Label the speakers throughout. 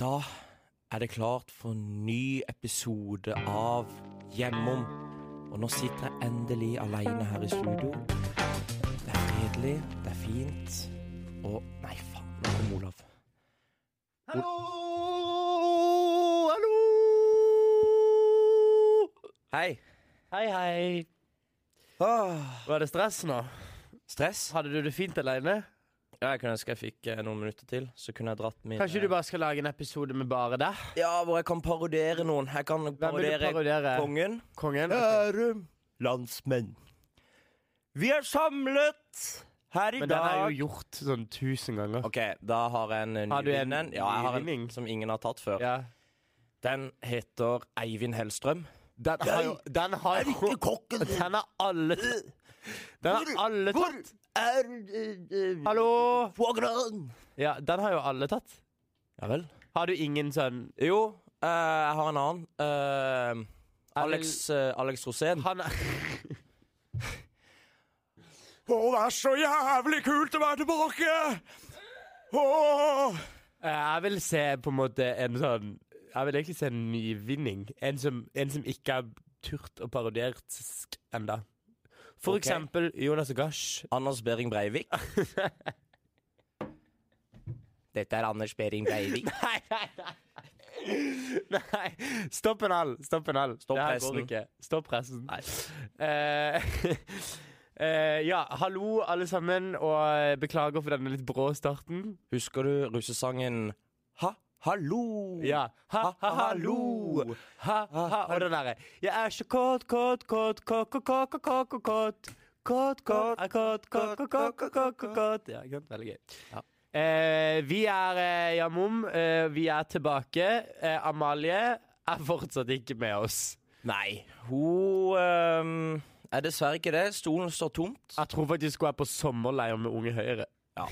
Speaker 1: Da er det klart for ny episode av Hjemom. Og nå sitter jeg endelig alene her i studio. Det er fredelig, det er fint. Og nei, faen, nå kom Olav.
Speaker 2: Hallo! Hallo!
Speaker 1: Hei.
Speaker 2: Hei, hei.
Speaker 1: Åh,
Speaker 2: Var det stress nå?
Speaker 1: Ah. stress?
Speaker 2: Hadde du det fint alene?
Speaker 1: Ja, jeg kunne ønske jeg fikk eh, noen minutter til, så kunne jeg dratt min eh,
Speaker 2: Kanskje du bare skal lage en episode med bare deg?
Speaker 1: Ja, hvor jeg kan parodiere noen. Jeg kan
Speaker 2: Hvem vil du
Speaker 1: parodiere
Speaker 2: parodiere?
Speaker 1: kongen.
Speaker 2: Kongen?
Speaker 1: Kjære landsmenn. Vi er samlet her i
Speaker 2: Men den
Speaker 1: dag.
Speaker 2: er jo gjort sånn tusen ganger.
Speaker 1: Ok, da har jeg en eh,
Speaker 2: Har du en
Speaker 1: nyvinning. Ja, jeg har en
Speaker 2: nyvinning?
Speaker 1: som ingen har tatt før.
Speaker 2: Ja.
Speaker 1: Den heter Eivind Hellstrøm.
Speaker 2: Den har jo Den har jo
Speaker 1: kokken
Speaker 2: Den har alle Den har alle tatt.
Speaker 1: er
Speaker 2: Hallo?
Speaker 1: Vågran?
Speaker 2: Ja, den har jo alle tatt.
Speaker 1: Ja vel.
Speaker 2: Har du ingen sånn
Speaker 1: Jo, eh, jeg har en annen. Eh, Alex, eh, Alex Rosén.
Speaker 2: Han er
Speaker 1: Å, det er så jævlig kult å være tilbake! Åh!
Speaker 2: Eh, Jeg vil se på en måte en sånn Jeg vil egentlig se en nyvinning. En som, en som ikke har turt å parodiere sk enda. For
Speaker 1: Ok.
Speaker 2: eksempel Jonas Gash.
Speaker 1: Anders Behring Breivik. Dette er Anders Behring Breivik.
Speaker 2: Nei, nei, nei. nei. Stopp en hal. Stopp en hal.
Speaker 1: Stopp
Speaker 2: Det her
Speaker 1: pressen.
Speaker 2: går ikke. Stopp pressen. Eh, eh, ja, hallo alle sammen, og beklager for denne litt brå starten.
Speaker 1: Husker du russesangen Ha, hallo?
Speaker 2: Ja. Ha, ha, hallo.
Speaker 1: hallo.
Speaker 2: Ha, ha. Og den derre Jeg er så kåt, kåt, kåt, kåt, kåt, kåt, kåt, kåt. Kåt, kåt, er kåt, kåt, kåt, kåt, kåt, kåt, kåt, kåt. Ja, ikke sant? Veldig gøy.
Speaker 1: Ja.
Speaker 2: Eh, vi er eh, Jamom. Eh, vi er tilbake. Eh, Amalie er fortsatt ikke med oss.
Speaker 1: Nei, hun øhm, er dessverre ikke det. Stolen står tomt.
Speaker 2: Jeg tror faktisk hun er på sommerleir med Unge Høyre.
Speaker 1: Ja.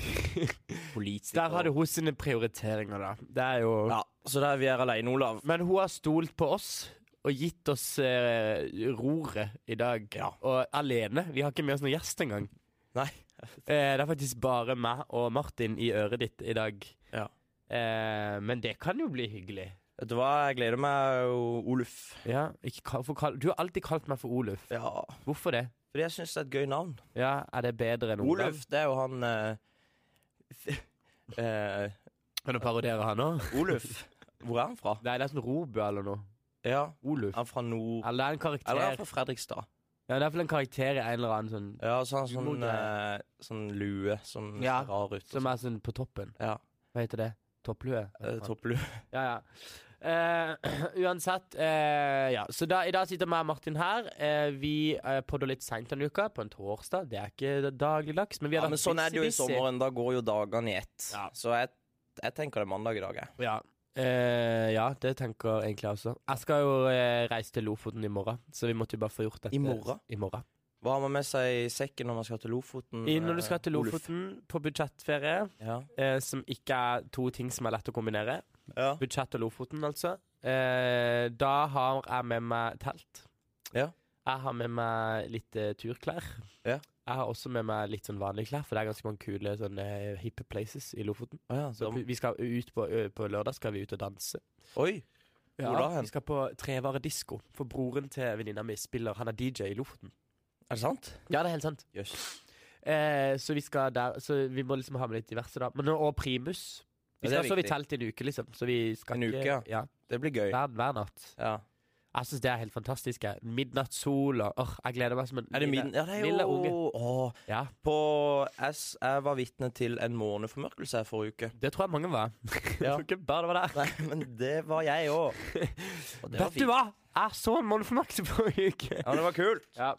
Speaker 1: Politiker.
Speaker 2: Der hadde hun sine prioriteringer, da. Det er jo
Speaker 1: Ja, så der vi er alene, Olav.
Speaker 2: Men hun har stolt på oss og gitt oss eh, roret i dag. Og alene. Vi har ikke med oss noen gjest engang.
Speaker 1: Nei.
Speaker 2: Eh, det er faktisk bare meg og Martin i øret ditt i dag.
Speaker 1: Ja.
Speaker 2: Eh, men det kan jo bli hyggelig.
Speaker 1: Vet du hva, jeg gleder meg, O- Oluf.
Speaker 2: Ja, ikke kall, for kall, du har alltid kalt meg for Oluf.
Speaker 1: Ja.
Speaker 2: Hvorfor det?
Speaker 1: Fordi jeg syns det er et gøy navn.
Speaker 2: Ja, Er det bedre enn Olav?
Speaker 1: Oluf, det er jo han eh, f- eh,
Speaker 2: Kan du parodiere han òg?
Speaker 1: Oluf. Hvor er han fra?
Speaker 2: Nei, det er sånn Robø eller noe.
Speaker 1: Ja,
Speaker 2: Oluf.
Speaker 1: han er fra nord...
Speaker 2: Eller det er en karakter.
Speaker 1: Eller han er fra Fredrikstad.
Speaker 2: Ja, det er i hvert fall en karakter i en eller annen sånn
Speaker 1: Ja, så har han sånn,
Speaker 2: Humorgreier.
Speaker 1: eh, sånn lue som
Speaker 2: Ja,
Speaker 1: ser rar ut. og
Speaker 2: Som er sånn på toppen.
Speaker 1: sånn. ja.
Speaker 2: Hva heter det? Topplue?
Speaker 1: eh, Topplue.
Speaker 2: Ja, ja. Eh, uansett, eh, ja. Så da, i dag sitter meg og Martin her. Eh, vi uh, podder litt seint denne uka, på en torsdag. Det er ikke dagligdags, men vi har
Speaker 1: Ja, men sånn er det jo i
Speaker 2: busy, busy.
Speaker 1: sommeren. Da går jo dagene i ett.
Speaker 2: Ja.
Speaker 1: Så jeg, jeg tenker det er mandag i dag, jeg.
Speaker 2: Ja. Eh, ja, det tenker egentlig jeg også. Jeg skal jo eh, reise til Lofoten i morgen, så vi måtte jo bare få gjort dette.
Speaker 1: I morgen?
Speaker 2: I morgen.
Speaker 1: Hva har man med seg i sekken når man skal til Lofoten?
Speaker 2: I, når du skal til
Speaker 1: eh, Oluf?
Speaker 2: Lofoten på budsjettferie,
Speaker 1: Ja.
Speaker 2: eh, som ikke er to ting som er lett å kombinere,
Speaker 1: ja.
Speaker 2: Budsjett og Lofoten, altså. Eh, da har jeg med meg telt.
Speaker 1: Ja.
Speaker 2: Jeg har med meg litt eh, turklær.
Speaker 1: Ja.
Speaker 2: Jeg har også med meg litt sånn vanlige klær, for det er ganske mange kule sånne eh, hippe places i Lofoten.
Speaker 1: Å ja,
Speaker 2: Så
Speaker 1: da-
Speaker 2: vi skal ut på, ø, på lørdag skal vi ut og danse.
Speaker 1: Oi! Hvor da hen?
Speaker 2: Vi skal på trevaredisko, for broren til venninna mi spiller Han er DJ i Lofoten.
Speaker 1: Er det sant?
Speaker 2: Ja, det er helt sant.
Speaker 1: Jøss.
Speaker 2: Eh, så vi skal der Så vi må liksom ha med litt diverse, da. Men, og primus. Vi
Speaker 1: Ja, det er
Speaker 2: skal sove i
Speaker 1: viktig.
Speaker 2: telt i en uke, liksom. Så vi skal
Speaker 1: En uke, ja.
Speaker 2: ikke ja.
Speaker 1: Det blir gøy.
Speaker 2: Hver, hver natt.
Speaker 1: Ja.
Speaker 2: Jeg syns det er helt fantastisk. jeg. Midnattssol og åh, Jeg gleder meg som en
Speaker 1: Er det
Speaker 2: lille-
Speaker 1: min? Ja, det er
Speaker 2: lille unge.
Speaker 1: jo Åh,
Speaker 2: Ja,
Speaker 1: På S Jeg var vitne til en måneformørkelse her forrige uke.
Speaker 2: det tror jeg mange var.
Speaker 1: Ja.
Speaker 2: Ja. ikke bare det var der.
Speaker 1: Nei, men det var jeg òg. Og det var
Speaker 2: Vet du
Speaker 1: fint.
Speaker 2: hva? Jeg så en måneformørkelse forrige uke.
Speaker 1: Ja, men det var kult.
Speaker 2: Ja.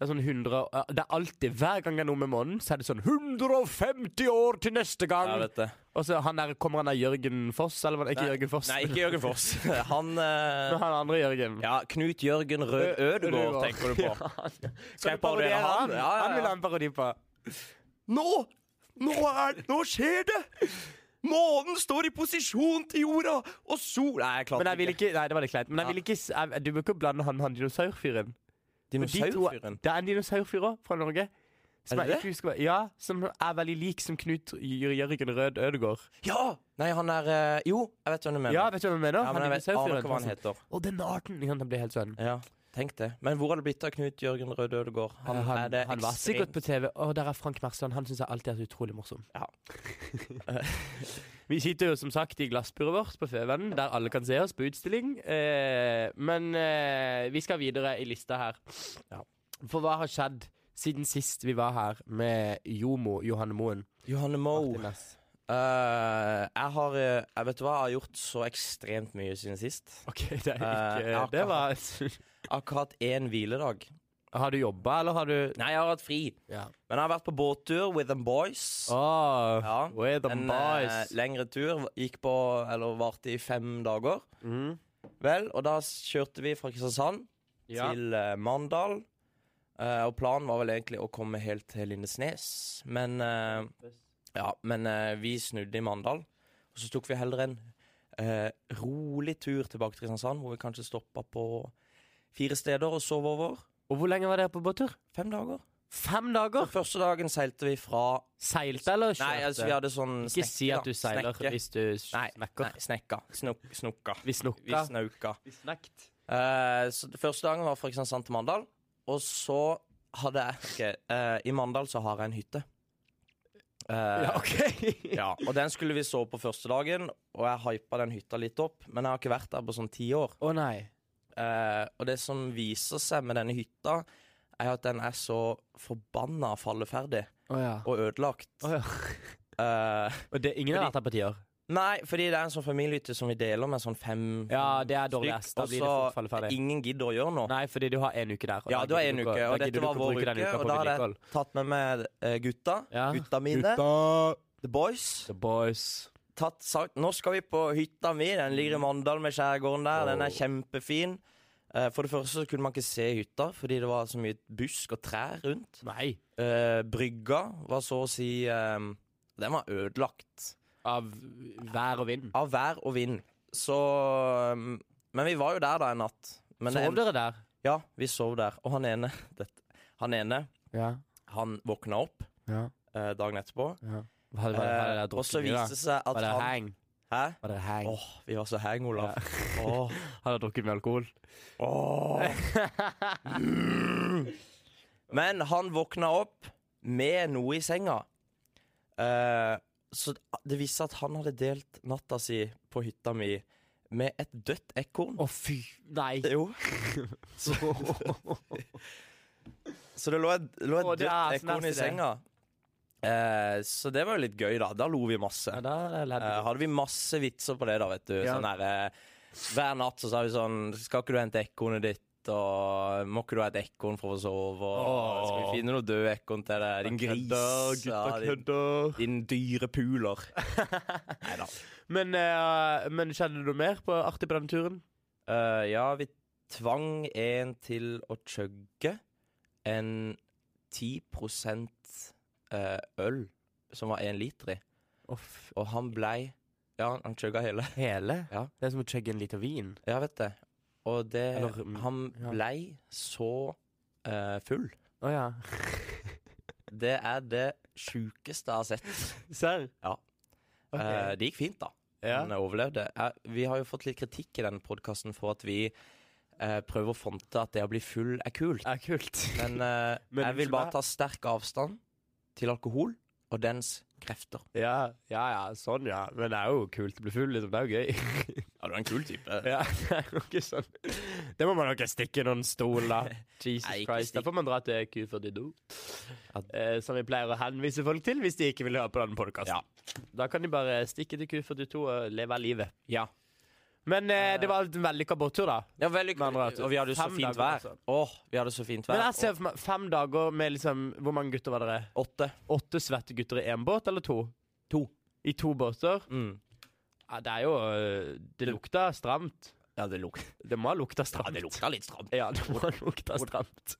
Speaker 2: Det er sånn 100 og- ja, Det er alltid, Hver gang det er noe med månen, så er det sånn 150 år til neste
Speaker 1: Jeg
Speaker 2: gang!
Speaker 1: vet det.
Speaker 2: og så han der, kommer han der Jørgen Foss, eller var det ikke Jørgen Foss?
Speaker 1: Nei, ikke Jørgen Foss. Han eh,
Speaker 2: Men han andre Jørgen.
Speaker 1: Ja, Knut Jørgen Rød Ødegård,
Speaker 2: Ødegaard.
Speaker 1: tenker du på.
Speaker 2: Ja.
Speaker 1: Skal jeg parodiere han? Ja, ja,
Speaker 2: Han vil
Speaker 1: ja.
Speaker 2: ha en parodi på.
Speaker 1: Nå! Nå, er, nå skjer det! Månen står i posisjon til jorda, og sol Nei, jeg klarte
Speaker 2: Men jeg vil ikke, nei, det var litt kleint. Men jeg vil ikke, s- jeg, du bør ikke blande han, han dinosaurfyren. For de to-
Speaker 1: Dinosaurfyren?
Speaker 2: Det er en dinosaurfyr også, fra Norge. Som
Speaker 1: Er det
Speaker 2: jeg ikke husker hva- Ja, som er veldig lik som Knut Jør- Jørgen Rød Ødegård.
Speaker 1: Ja! Nei, han er eh, Jo, jeg vet hvem du mener.
Speaker 2: Ja, vet du hva jeg mener?
Speaker 1: Ja, men jeg vet aner ikke hva han
Speaker 2: heter.
Speaker 1: heter.
Speaker 2: Å, den arten! Ja, han blir helt sånn.
Speaker 1: Ja, tenk det. Men hvor har det blitt av Knut Jørgen Røde Ødegård?
Speaker 2: Eh, han,
Speaker 1: er det
Speaker 2: han var
Speaker 1: ekstremt-
Speaker 2: sikkert på TV. Å, der er Frank Mersland. Han syns jeg alltid er så utrolig morsom.
Speaker 1: Ja.
Speaker 2: Vi sitter jo som sagt i glassburet vårt på Føvennen, der alle kan se oss på utstilling. Eh, men eh, vi skal videre i lista her. For hva har skjedd siden sist vi var her med Jomo Johanne Moen?
Speaker 1: Johanne Moe.
Speaker 2: Martin Næss?
Speaker 1: Eh, jeg har eh, Jeg vet du hva, jeg har gjort så ekstremt mye siden sist.
Speaker 2: OK, det er
Speaker 1: Eh,
Speaker 2: ikke
Speaker 1: jeg har
Speaker 2: Det
Speaker 1: ikke
Speaker 2: var
Speaker 1: Akkurat én hviledag.
Speaker 2: Har du jobba, eller har du
Speaker 1: Nei, jeg har hatt fri.
Speaker 2: Ja.
Speaker 1: Men jeg har vært på båttur with them boys.
Speaker 2: Åh,
Speaker 1: Ja.
Speaker 2: We're the
Speaker 1: En eh,
Speaker 2: boys.
Speaker 1: lengre tur gikk på, eller varte i fem dager.
Speaker 2: Mm.
Speaker 1: Vel, og da kjørte vi fra Kristiansand
Speaker 2: Ja.
Speaker 1: til eh, Mandal. Eh, og planen var vel egentlig å komme helt til Lindesnes, men eh, Ja, men eh, vi snudde i Mandal. Og så tok vi heller en eh, rolig tur tilbake til Kristiansand, hvor vi kanskje stoppa på fire steder og sov over.
Speaker 2: Og hvor lenge var dere på båttur?
Speaker 1: Fem dager.
Speaker 2: Fem dager?
Speaker 1: Den første dagen seilte vi fra
Speaker 2: Seilte eller kjørte?
Speaker 1: Nei, altså, vi hadde sånn
Speaker 2: Ikke si
Speaker 1: snekke,
Speaker 2: at du
Speaker 1: da.
Speaker 2: seiler
Speaker 1: Snekke.
Speaker 2: hvis du s-
Speaker 1: Nei,
Speaker 2: snakker.
Speaker 1: Nei, snekka. Snok, snokka.
Speaker 2: Vi
Speaker 1: Vi
Speaker 2: snukka.
Speaker 1: snauka.
Speaker 2: Vi snakket.
Speaker 1: Eh, så det første dagen var fra Kristiansand til Mandal. Og så hadde jeg ok, eh, I Mandal så har jeg en hytte. Eh,
Speaker 2: Ja, OK.
Speaker 1: ja, Og den skulle vi sove på første dagen, og jeg hypa den hytta litt opp. Men jeg har ikke vært der på sånn ti år.
Speaker 2: Å nei.
Speaker 1: Eh, og det som viser seg med denne hytta, er at den er så forbanna falleferdig
Speaker 2: Å ja.
Speaker 1: og ødelagt.
Speaker 2: Å, ja.
Speaker 1: Eh,
Speaker 2: Og det, ingen har vært her på ti år?
Speaker 1: nei, fordi det er en sånn familiehytte som vi deler med sånn fem
Speaker 2: Ja, det er dårlig
Speaker 1: Stryk,
Speaker 2: ass. Da blir det
Speaker 1: og så
Speaker 2: fort falleferdig.
Speaker 1: Ingen gidder å gjøre noe.
Speaker 2: Nei, fordi du har én uke der. og
Speaker 1: Ja,
Speaker 2: da
Speaker 1: du har
Speaker 2: gidder
Speaker 1: en
Speaker 2: ikke å-
Speaker 1: uke, og
Speaker 2: da
Speaker 1: dette
Speaker 2: gidder du
Speaker 1: var
Speaker 2: ikke å
Speaker 1: vår
Speaker 2: bruke den
Speaker 1: uke,
Speaker 2: uka
Speaker 1: og
Speaker 2: på
Speaker 1: da er det-
Speaker 2: vedlikehold.
Speaker 1: Tatt med meg eh, gutta.
Speaker 2: Ja.
Speaker 1: Gutta mine.
Speaker 2: Gutta.
Speaker 1: The boys.
Speaker 2: The boys.
Speaker 1: Tatt sagt, nå skal vi på hytta mi.
Speaker 2: Mm.
Speaker 1: Den ligger i Mandal med skjærgården der. Den er kjempefin. Eh, For det første så kunne man ikke se hytta fordi det var så mye busk og trær rundt.
Speaker 2: Nei.
Speaker 1: Eh, Brygga var så å si eh, Den var ødelagt
Speaker 2: Av vær og vind.
Speaker 1: av vær og vind. Så eh, Men vi var jo der da en natt. Men det
Speaker 2: Sov
Speaker 1: endte-
Speaker 2: dere der?
Speaker 1: Ja, vi sov der. Og han ene, dette, han ene,
Speaker 2: Ja.
Speaker 1: han våkna opp
Speaker 2: ja.
Speaker 1: eh, dagen etterpå.
Speaker 2: Var, var, var, var
Speaker 1: Eh,
Speaker 2: dere
Speaker 1: og så
Speaker 2: drukket mye,
Speaker 1: viste
Speaker 2: da?
Speaker 1: det seg at
Speaker 2: Var
Speaker 1: han
Speaker 2: dere hang?
Speaker 1: Hæ?
Speaker 2: Var dere hang?
Speaker 1: Åh, vi var så hang, Olav. Åh.
Speaker 2: Har dere drukket mye alkohol?
Speaker 1: Åh. Mm. Men han våkna opp med noe i senga. Eh, så det viste seg at han hadde delt natta si på hytta mi med et dødt ekorn.
Speaker 2: Å, fy. Nei.
Speaker 1: Jo.
Speaker 2: Så,
Speaker 1: Så det lå et, lå et
Speaker 2: Åh, det
Speaker 1: dødt
Speaker 2: er så
Speaker 1: ekorn i
Speaker 2: nasty, det.
Speaker 1: senga. Eh, så det var jo litt gøy, da. Da lo vi masse.
Speaker 2: ja, da lærte
Speaker 1: Eh, hadde vi masse vitser på det, da, vet du.
Speaker 2: Ja.
Speaker 1: Sånn der, eh, hver natt så sa vi sånn Skal ikke du hente ekornet ditt? Og må ikke du ha et ekorn for å sove? Og,
Speaker 2: Åh.
Speaker 1: Skal vi finne noe død ekorn til deg? Din gris. ja, din,
Speaker 2: kødder.
Speaker 1: din dyre puler. Neida.
Speaker 2: Men, eh, men skjedde det noe mer på artig på denne turen?
Speaker 1: Eh, ja, vi tvang en til å chugge en 10 eh, øl som var én liter i. Og han blei Ja, han chugga hele.
Speaker 2: hele?
Speaker 1: Ja.
Speaker 2: Det er som å chugge en liter vin.
Speaker 1: Ja, vet det. Og det
Speaker 2: Eller, mm,
Speaker 1: Han
Speaker 2: ja.
Speaker 1: blei så eh, full.
Speaker 2: Å ja.
Speaker 1: Det er det sjukeste jeg har sett.
Speaker 2: Serr?
Speaker 1: Ja.
Speaker 2: Ok.
Speaker 1: Eh, det gikk fint, da.
Speaker 2: ja.
Speaker 1: Han overlevde. Eh, vi har jo fått litt kritikk i denne podkasten for at vi eh, prøver å fronte at det å bli full er kult.
Speaker 2: Ja, kult.
Speaker 1: Men, eh,
Speaker 2: Men
Speaker 1: jeg vil
Speaker 2: unnskyld meg.
Speaker 1: bare ta sterk avstand til alkohol og dens krefter.
Speaker 2: Ja, ja, ja, sånn, ja. Men det er jo kult å bli full, liksom. Det er jo gøy.
Speaker 1: Ja, du er en kul type.
Speaker 2: ja, det er jo ikke sånn Det må man nok stikke i noen stol, da. Jesus
Speaker 1: Nei, ikke
Speaker 2: Christ. Da
Speaker 1: stikk.
Speaker 2: får man dra til Q42,
Speaker 1: Ja.
Speaker 2: eh, som vi pleier å henvise folk til hvis de ikke vil høre på denne podkasten. Da kan de bare stikke til Q42 og leve av livet.
Speaker 1: Ja.
Speaker 2: Men eh, det var en vellykka båttur, da.
Speaker 1: ja veldig
Speaker 2: Med andre ord,
Speaker 1: Og vi hadde jo så
Speaker 2: fem
Speaker 1: fint
Speaker 2: dager,
Speaker 1: vær.
Speaker 2: altså.
Speaker 1: Åh, vi hadde så fint
Speaker 2: Men
Speaker 1: vær.
Speaker 2: jeg ser for meg fem dager med liksom Hvor mange gutter var dere?
Speaker 1: Og åtte.
Speaker 2: Åtte svette gutter i én båt, eller to?
Speaker 1: To.
Speaker 2: I to båter?
Speaker 1: Mm.
Speaker 2: Ja, det er jo øh, Det lukta stramt.
Speaker 1: Ja, det lukta
Speaker 2: Det må ha lukta stramt.
Speaker 1: litt stramt.
Speaker 2: Ja, det må ha lukta stramt.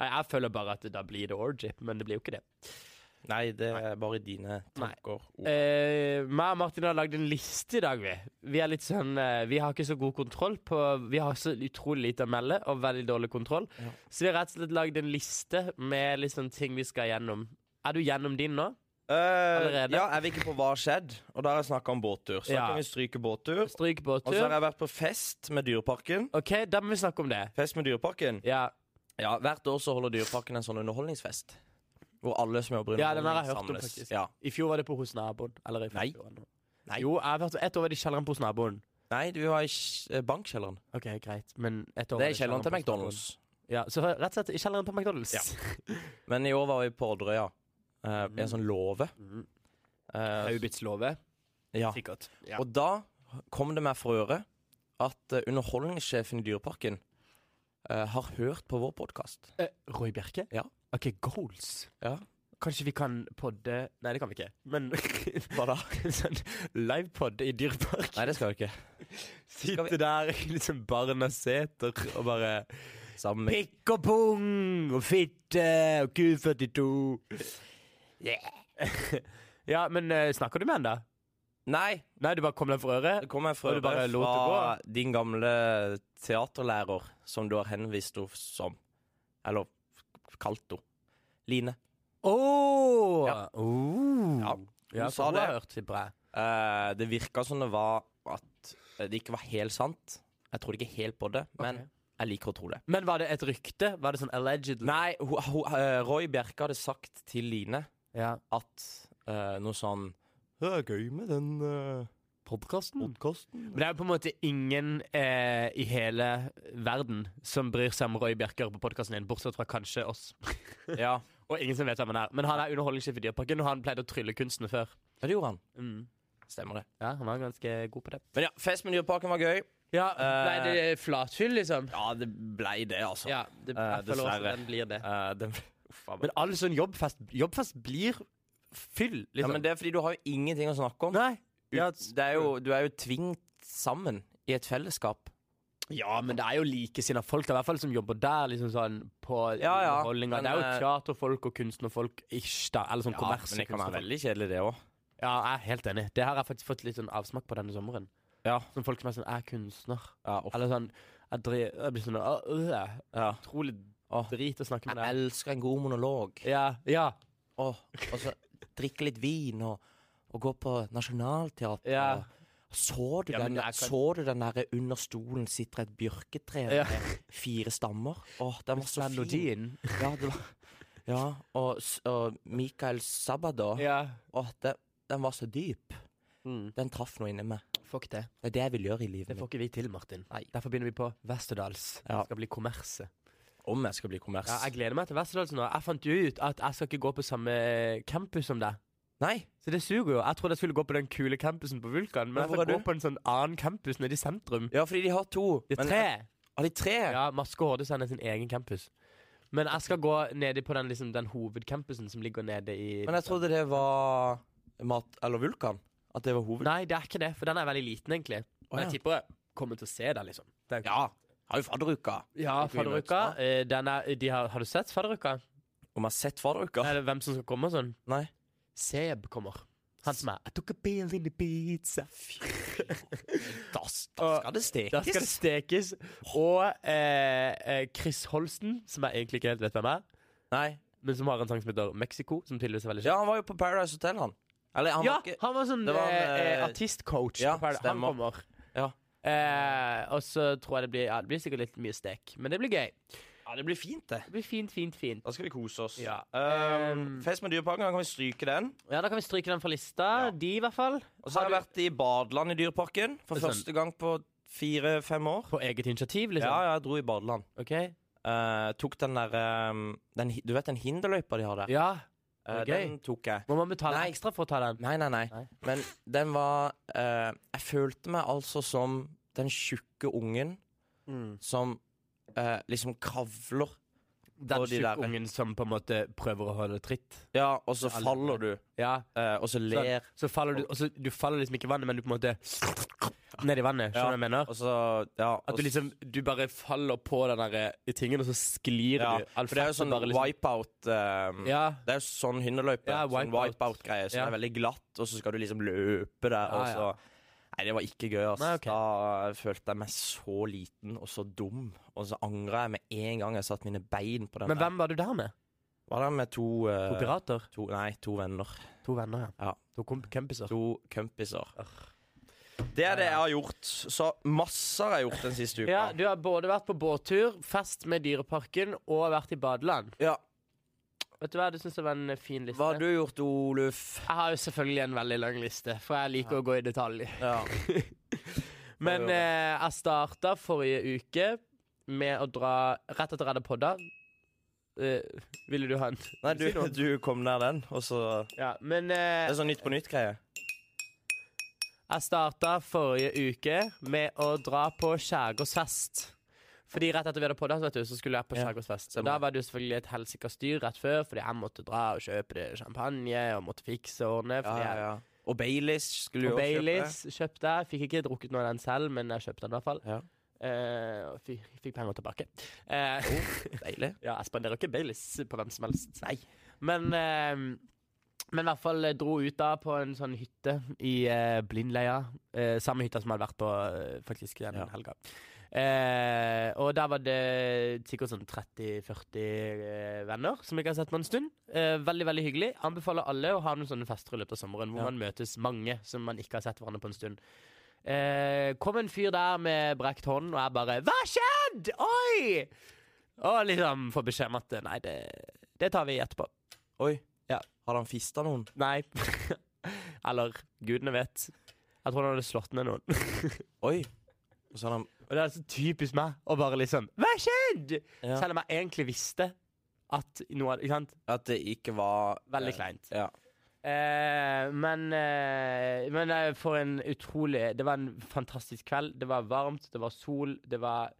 Speaker 2: Nei, jeg føler bare at da blir det orgy, men det blir jo ikke det.
Speaker 1: Nei, det er bare dine
Speaker 2: Nei.
Speaker 1: tanker. Ord.
Speaker 2: Eh, meg og Martin har lagd en liste i dag, vi. Vi er litt sånn eh, Vi har ikke så god kontroll på Vi har så utrolig lite å melde og veldig dårlig kontroll.
Speaker 1: Ja.
Speaker 2: Så vi har rett og slett lagd en liste med litt sånn ting vi skal gjennom. Er du gjennom din nå?
Speaker 1: Eh,
Speaker 2: allerede?
Speaker 1: ja, jeg vil ikke på hva har skjedd, og da har jeg snakka om båttur. Så
Speaker 2: Ja.
Speaker 1: da kan vi stryke båttur.
Speaker 2: Stryk på
Speaker 1: Og så har
Speaker 2: tur.
Speaker 1: jeg vært på fest med Dyreparken.
Speaker 2: OK, da må vi snakke om det.
Speaker 1: Fest med Dyreparken?
Speaker 2: Ja,
Speaker 1: Ja, Hvert år så holder Dyreparken en sånn underholdningsfest. Hvor alle som jobber i
Speaker 2: Ja, den har jeg
Speaker 1: underholdning
Speaker 2: hørt om,
Speaker 1: samles.
Speaker 2: faktisk.
Speaker 1: Ja.
Speaker 2: I fjor var det på hos naboen. Eller i
Speaker 1: Nei.
Speaker 2: forfjor.
Speaker 1: Nei.
Speaker 2: Jo, jeg har vært ett år var det i kjelleren på hos naboen.
Speaker 1: Nei, du var i kj- eh, bankkjelleren.
Speaker 2: OK, greit, men ett år
Speaker 1: Det
Speaker 2: var
Speaker 1: er i kjelleren til
Speaker 2: på hos naboen.
Speaker 1: McDonald's.
Speaker 2: Ja, Så rett og slett i kjelleren på McDonald's.
Speaker 1: Ja. Men i år var vi på Orderøya. eh, I en sånn låve.
Speaker 2: Mm.
Speaker 1: Eh,
Speaker 2: Haubits låve,
Speaker 1: ja.
Speaker 2: sikkert.
Speaker 1: Og da kom det meg for øre at eh, underholdningssjefen i Dyreparken eh, har hørt på vår podkast.
Speaker 2: Eh, Roy Bjerke?
Speaker 1: Ja.
Speaker 2: OK, goals.
Speaker 1: Ja.
Speaker 2: Kanskje vi kan podde Nei, det kan vi ikke. Men
Speaker 1: Hva da?
Speaker 2: sånn livepod i Dyrepark.
Speaker 1: Nei, det skal vi ikke.
Speaker 2: Sitte der i liksom barnas seter og bare
Speaker 1: Sammen med
Speaker 2: Pikk og pung og fitte og Q42. ja, men eh, snakker du med han da?
Speaker 1: Nei!
Speaker 2: Nei, du bare kom deg for øret?
Speaker 1: Det kom jeg fra,
Speaker 2: Og du bare lot det
Speaker 1: fra din gamle teaterlærer, som du har henvist henne som. Eller kalt henne. Line.
Speaker 2: Å!
Speaker 1: Ja.
Speaker 2: Oh.
Speaker 1: Ja,
Speaker 2: Ja,
Speaker 1: hun
Speaker 2: for
Speaker 1: sa
Speaker 2: hun
Speaker 1: det.
Speaker 2: har hørt, tipper jeg.
Speaker 1: Eh, det virka som det var at eh, det ikke var helt sant. Jeg trodde ikke helt på det, men
Speaker 2: Ok.
Speaker 1: jeg liker å tro det.
Speaker 2: Men var det et rykte? Var det sånn allegedly?
Speaker 1: Nei, ho, ho, eh, Roy Bjerke hadde sagt til Line
Speaker 2: Ja.
Speaker 1: at eh, noe sånn Det er gøy med den uh,
Speaker 2: Podkasten?
Speaker 1: podkasten.
Speaker 2: Men det er jo på en måte ingen eh, i hele verden som bryr seg om Roy Bjerker på podkasten din, bortsett fra kanskje oss.
Speaker 1: Ja.
Speaker 2: Og ingen som vet hvem han er. Men han er underholdningssjef i Dyreparken, og han pleide å trylle kunstene før.
Speaker 1: Ja, Det gjorde han.
Speaker 2: Mm.
Speaker 1: Stemmer det.
Speaker 2: Ja, han var ganske god på det.
Speaker 1: Men ja, fest med Dyreparken var gøy.
Speaker 2: Ja,
Speaker 1: Eh,
Speaker 2: Ble det flatfyll, liksom?
Speaker 1: Ja, det blei det, altså.
Speaker 2: Ja, det,
Speaker 1: eh,
Speaker 2: jeg føler også
Speaker 1: dessverre.
Speaker 2: at den blir det.
Speaker 1: Eh, den ble, uff, faen.
Speaker 2: Men all sånn jobbfest Jobbfest blir fyll,
Speaker 1: ja,
Speaker 2: liksom.
Speaker 1: men det er fordi du har jo ingenting å snakke om.
Speaker 2: Nei. Ja,
Speaker 1: Ut- det er jo, du er jo tvingt sammen i et fellesskap.
Speaker 2: ja, men det er jo likesinna folk, da, i hvert fall som jobber der, liksom sånn på
Speaker 1: Ja, ja,
Speaker 2: underholdninga.
Speaker 1: men,
Speaker 2: Det er jo
Speaker 1: eh,
Speaker 2: teaterfolk og kunstnerfolk, ish, da. Eller sånn
Speaker 1: Ja, men det kan være
Speaker 2: kommerskunstnerfolk.
Speaker 1: veldig kjedelig, det òg.
Speaker 2: Ja, jeg er helt enig. Det her har jeg faktisk fått litt sånn avsmak på denne sommeren.
Speaker 1: Ja.
Speaker 2: Sånn folk som er sånn Jeg er kunstner.
Speaker 1: Ja, uff.
Speaker 2: Eller sånn Jeg, dri, jeg blir sånn «Åh, øh,
Speaker 1: Ja.
Speaker 2: Utrolig
Speaker 1: Åh.
Speaker 2: drit å snakke
Speaker 1: Jeg
Speaker 2: med deg.
Speaker 1: elsker en god monolog.
Speaker 2: Ja, ja,
Speaker 1: Og, og så drikke litt vin og, og gå på Nationaltheatret.
Speaker 2: Ja.
Speaker 1: og- Så du,
Speaker 2: Ja, men
Speaker 1: den,
Speaker 2: jeg kan-
Speaker 1: så du den derre under stolen sitter et bjørketre
Speaker 2: Ja.
Speaker 1: med fire stammer? Åh, den var så fin.
Speaker 2: Melodien.
Speaker 1: Ja, det var, ja og, s- og Mikael Sabada.
Speaker 2: Ja.
Speaker 1: Åh, den, den var så dyp.
Speaker 2: Mm.
Speaker 1: Den traff noe inni meg.
Speaker 2: Fuck det.
Speaker 1: Det er det jeg vil gjøre i
Speaker 2: Det
Speaker 1: livet mitt.
Speaker 2: får ikke vi til, Martin. Derfor begynner vi på Westerdals.
Speaker 1: Ja.
Speaker 2: Det skal bli kommerse.
Speaker 1: Om jeg skal bli kommers.
Speaker 2: Ja, jeg gleder meg til Westerdals nå. Jeg fant jo ut at jeg skal ikke gå på samme campus som deg.
Speaker 1: Nei,
Speaker 2: Så det suger jo. Jeg trodde jeg skulle gå på den kule campusen på Vulkan, men
Speaker 1: Men
Speaker 2: jeg
Speaker 1: hvor
Speaker 2: skal
Speaker 1: er
Speaker 2: gå
Speaker 1: du?
Speaker 2: på en sånn annen campus nede i sentrum.
Speaker 1: ja, fordi de har to.
Speaker 2: Det
Speaker 1: Men- eh,
Speaker 2: er tre.
Speaker 1: Har de tre?
Speaker 2: Ja, Maske og Hordesand er sin egen campus. Men jeg skal gå nede på den, liksom, den hovedcampusen som ligger nede i
Speaker 1: Men jeg trodde det var mat... Eller vulkan. At det var hoved...
Speaker 2: Nei, det er ikke det, for den er veldig liten, egentlig. Men
Speaker 1: ja.
Speaker 2: jeg tipper jeg kommer til å se den, liksom. Den,
Speaker 1: Ja, har jo fadderuka.
Speaker 2: Ja,
Speaker 1: Ikke vi møtes da?
Speaker 2: fadderuka. eh, den er- de har, har du sett fadderuka?
Speaker 1: Om jeg har sett fadderuka?
Speaker 2: Er det hvem som skal komme og sånn?
Speaker 1: Nei.
Speaker 2: Seb kommer. Han som er I took a bill in the pizza.
Speaker 1: Da, da
Speaker 2: Og-
Speaker 1: skal det
Speaker 2: Der skal det
Speaker 1: stekes.
Speaker 2: stekes. Og eh, eh, Chris Holsten, som jeg egentlig ikke helt vet hvem er,
Speaker 1: Nei.
Speaker 2: men som har en sang som heter Mexico, som tydeligvis er veldig kjent.
Speaker 1: Ja, han var jo på Paradise Hotel, han. Eller han
Speaker 2: ja,
Speaker 1: var ikke
Speaker 2: han var sånn
Speaker 1: Det var
Speaker 2: eh,
Speaker 1: en,
Speaker 2: eh,
Speaker 1: eh,
Speaker 2: artistcoach.
Speaker 1: ja,
Speaker 2: på Paradise. han
Speaker 1: stemmer.
Speaker 2: kommer.
Speaker 1: Ja.
Speaker 2: Eh, og så tror jeg det blir Ja, det blir sikkert litt mye stek, men det blir gøy.
Speaker 1: Ja, det blir fint, det.
Speaker 2: Det blir fint, fint, fint.
Speaker 1: Da skal vi kose oss.
Speaker 2: Ja.
Speaker 1: Ehm,
Speaker 2: Ehm.
Speaker 1: fest med Dyreparken, da kan vi stryke den.
Speaker 2: Ja, da kan vi stryke den fra lista.
Speaker 1: Ja.
Speaker 2: De, i hvert fall.
Speaker 1: Og så har jeg
Speaker 2: Har
Speaker 1: vært i Badeland i Dyreparken for
Speaker 2: Sånn.
Speaker 1: første gang på fire-fem år.
Speaker 2: På eget initiativ,
Speaker 1: Ja,
Speaker 2: liksom?
Speaker 1: ja, jeg dro i Badeland.
Speaker 2: Ok.
Speaker 1: Eh, tok den der ehm, den, hi- Du vet den hinderløypa de har der?
Speaker 2: Ja.
Speaker 1: Eh,
Speaker 2: gøy.
Speaker 1: den tok jeg.
Speaker 2: Må man betale
Speaker 1: Nei.
Speaker 2: ekstra for å ta den?
Speaker 1: Nei, nei, nei.
Speaker 2: Nei.
Speaker 1: Men den var eh, Jeg følte meg altså som den tjukke ungen
Speaker 2: Mm.
Speaker 1: som eh, liksom kavler.
Speaker 2: Den
Speaker 1: Og de der-
Speaker 2: tjukke ungen som på en måte prøver å holde tritt?
Speaker 1: Ja, og så
Speaker 2: Ja, alle-
Speaker 1: faller du,
Speaker 2: Ja.
Speaker 1: eh, og så ler
Speaker 2: altså, Så faller du, og så, du faller liksom ikke i vannet, men du på en måte nedi vannet. Skjønner du hva jeg mener?
Speaker 1: Og så, ja,
Speaker 2: At du
Speaker 1: og s-
Speaker 2: liksom Du bare faller på den der eh, tingen, og så sklir
Speaker 1: ja,
Speaker 2: du. All
Speaker 1: For det er jo
Speaker 2: fett
Speaker 1: sånn
Speaker 2: bare liksom- Mm.
Speaker 1: wipeout eh,
Speaker 2: Ja.
Speaker 1: Det er jo sånn hinderløype.
Speaker 2: Ja,
Speaker 1: sånn
Speaker 2: wipeout.
Speaker 1: wipeout-greie som
Speaker 2: Ja.
Speaker 1: er veldig glatt, og så skal du liksom løpe der,
Speaker 2: Ja, ja.
Speaker 1: og så Nei, det var ikke gøy. ass.
Speaker 2: Nei, ok.
Speaker 1: Da følte jeg meg så liten og så dum. Og så angra jeg med en gang jeg satte mine bein på den.
Speaker 2: Men hvem var du der med?
Speaker 1: der. Var det med to, eh,
Speaker 2: To pirater?
Speaker 1: to Nei, to venner.
Speaker 2: To venner, ja.
Speaker 1: Ja.
Speaker 2: To kom- kompiser.
Speaker 1: To kompiser. Det er det jeg har gjort. Så masse har jeg gjort den siste uka.
Speaker 2: Ja, du har både vært på båttur, fest med Dyreparken og vært i badeland.
Speaker 1: Ja.
Speaker 2: Vet du hva, det syns jeg var en fin liste.
Speaker 1: Hva har du gjort, Oluf?
Speaker 2: Jeg har jo selvfølgelig en veldig lang liste, for jeg liker å gå i detalj.
Speaker 1: Ja.
Speaker 2: Men
Speaker 1: Ja, det gjør
Speaker 2: eh, jeg starta forrige uke med å dra rett etter jeg hadde podda. Eh, ville du ha en?
Speaker 1: Nei, du,
Speaker 2: Vil si noe?
Speaker 1: du kom nær den, og så
Speaker 2: Ja, men
Speaker 1: Det
Speaker 2: eh,
Speaker 1: er sånn Nytt på nytt-greie.
Speaker 2: jeg starta forrige uke med å dra på skjærgårdsfest. Fordi rett etter vi hadde podda, så, vet du, så skulle jeg på
Speaker 1: Ja,
Speaker 2: skjærgårdsfest. Og
Speaker 1: stemmer.
Speaker 2: da var det jo selvfølgelig et helsikas styr rett før, fordi jeg måtte dra og kjøpe det champagne og måtte fikse og ordne. Fordi jeg
Speaker 1: Og Baileys skulle jo
Speaker 2: Og
Speaker 1: også
Speaker 2: Baileys kjøpte jeg. Fikk ikke drukket noe av den selv, men jeg kjøpte den i hvert fall.
Speaker 1: Ja.
Speaker 2: Eh, og fikk, fikk penger tilbake. Eh,
Speaker 1: kjøpe. Deilig.
Speaker 2: ja, jeg spanderer ikke Baileys på hvem som helst. Nei. Men, eh, men i hvert fall eh, dro ut da på en sånn hytte i eh, Blindleia. Eh, samme hytta som jeg hadde vært på eh, faktisk den
Speaker 1: Ja.
Speaker 2: helga. Eh, og der var det sikkert sånn 30-40 eh, venner som jeg ikke har sett på en stund. Eh, veldig veldig hyggelig. Anbefaler alle å ha noen sånne fester i løpet av sommeren hvor
Speaker 1: Ja.
Speaker 2: man møtes mange som man ikke har sett hverandre på en stund. Eh, kom en fyr der med brekt hånd, og jeg bare 'Hva skjedd?! Oi!' Og liksom får beskjed om at nei, det, det tar vi etterpå.
Speaker 1: Oi.
Speaker 2: Ja.
Speaker 1: Hadde han fista noen?
Speaker 2: Nei. Eller gudene vet. Jeg tror han hadde slått ned noen.
Speaker 1: Oi. Og så hadde han
Speaker 2: Og det er så typisk meg å bare liksom Hva skjedde?!
Speaker 1: Ja.
Speaker 2: Selv om jeg egentlig visste at noe hadde Ikke sant?
Speaker 1: At det ikke var
Speaker 2: Veldig
Speaker 1: eh,
Speaker 2: kleint.
Speaker 1: Ja.
Speaker 2: Eh, men eh, men eh, for en utrolig Det var en fantastisk kveld. Det var varmt, det var sol, det var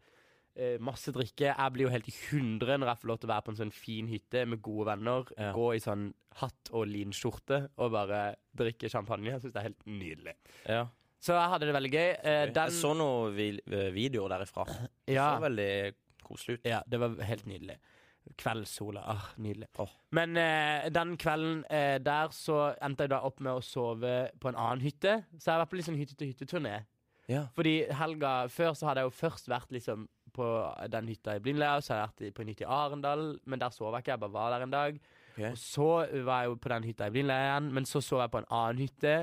Speaker 2: eh, masse drikke. Jeg blir jo helt i hundre når jeg får lov til å være på en sånn fin hytte med gode venner.
Speaker 1: Ja.
Speaker 2: Gå i sånn hatt og linskjorte og bare drikke champagne. Jeg syns det er helt nydelig.
Speaker 1: ja.
Speaker 2: Så jeg hadde det veldig gøy. Eh,
Speaker 1: Jeg
Speaker 2: den
Speaker 1: så noen vi- eh, videoer derifra. Det
Speaker 2: ja.
Speaker 1: så veldig koselig ut.
Speaker 2: Ja, det var helt nydelig. Kveldssola. Ah, nydelig.
Speaker 1: Åh.
Speaker 2: Men eh, den kvelden eh, der så endte jeg da opp med å sove på en annen hytte. Så jeg har vært på litt sånn hytte-til-hytte-turné.
Speaker 1: Ja.
Speaker 2: Fordi helga før så hadde jeg jo først vært liksom på den hytta i Blindleia, og så hadde jeg vært i- på en hytte i Arendal, men der sov jeg ikke, jeg bare var der en dag.
Speaker 1: Ok.
Speaker 2: Og så var jeg jo på den hytta i Blindleia igjen, men så sov jeg på en annen hytte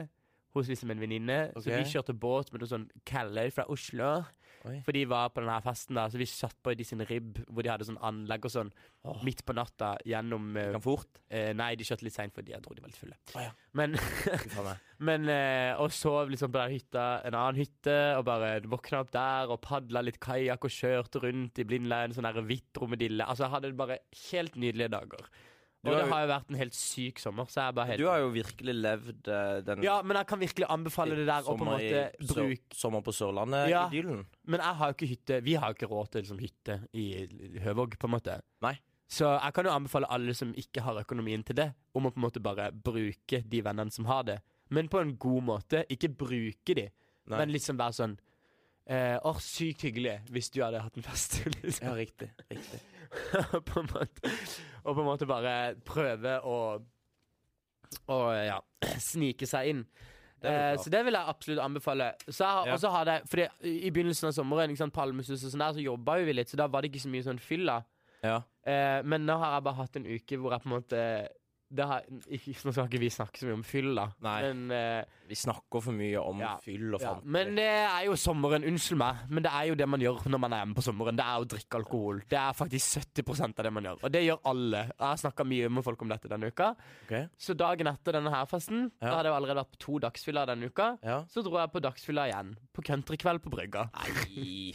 Speaker 2: hos liksom en venninne. Så
Speaker 1: Ok.
Speaker 2: vi kjørte båt med noen sånn Kelløy fra Oslo.
Speaker 1: Oi.
Speaker 2: For de var på denne festen der, så vi satt på de sin ribb, hvor de hadde sånn anlegg og sånn,
Speaker 1: Åh.
Speaker 2: midt på natta gjennom eh,
Speaker 1: Kan fort.
Speaker 2: eh, Nei, de kjørte litt seint, fordi jeg tror de var litt fulle.
Speaker 1: Å ja.
Speaker 2: Men,
Speaker 1: Fy faen meg.
Speaker 2: men eh, og sov liksom på den hytta, en annen hytte, og bare våkna opp der og padla litt kajakk og kjørte rundt i Blindleien, sånn der hvitt romedille. Altså, jeg hadde bare helt nydelige dager.
Speaker 1: Du
Speaker 2: Og
Speaker 1: har
Speaker 2: det
Speaker 1: jo-
Speaker 2: har jo vært en helt syk sommer, så jeg er bare helt
Speaker 1: Du har jo virkelig levd eh, den
Speaker 2: Ja, men jeg kan virkelig anbefale det der, og på en
Speaker 1: sommer i-
Speaker 2: måte
Speaker 1: så-
Speaker 2: bruke
Speaker 1: Sommer på Sørlandet,
Speaker 2: Ja.
Speaker 1: idyllen.
Speaker 2: Men jeg har jo ikke hytte Vi har jo ikke råd til liksom, hytte i Høvåg, på en måte.
Speaker 1: Nei.
Speaker 2: Så jeg kan jo anbefale alle som ikke har økonomien til det, om å på en måte bare bruke de vennene som har det. Men på en god måte. Ikke bruke de,
Speaker 1: Nei.
Speaker 2: men liksom være sånn eh, Åh, sykt hyggelig hvis du hadde hatt en fest. Liksom.
Speaker 1: Ja, riktig. riktig.
Speaker 2: på en måte. Og på en måte bare prøve å Å, ja Snike seg inn.
Speaker 1: er jo
Speaker 2: Eh,
Speaker 1: klart.
Speaker 2: så det vil jeg absolutt anbefale. Så jeg, har-
Speaker 1: Ja.
Speaker 2: Og så har det, fordi I begynnelsen av sommeren ikke sant, Palmesus og sånn der, så jobba jo vi litt, så da var det ikke så mye sånn fylla.
Speaker 1: Ja.
Speaker 2: Eh, men nå har jeg bare hatt en uke hvor jeg på en måte det har, ikke, Nå skal ikke vi snakke så mye om fylla,
Speaker 1: Nei.
Speaker 2: men, eh,
Speaker 1: Vi snakker for mye om
Speaker 2: Ja.
Speaker 1: fyll og
Speaker 2: ja.
Speaker 1: fanteri.
Speaker 2: men eh, det er jo sommeren. Unnskyld meg, men det er jo det man gjør når man er hjemme på sommeren. Det er å drikke alkohol. Det er faktisk 70 av det man gjør, og det gjør alle. Jeg har snakka mye med folk om dette denne uka.
Speaker 1: Ok.
Speaker 2: Så dagen etter denne her festen,
Speaker 1: Ja.
Speaker 2: da hadde jeg jo allerede vært på to dagsfyller denne uka.
Speaker 1: Ja.
Speaker 2: Så dro jeg på dagsfylla igjen, på countrykveld på brygga.
Speaker 1: Nei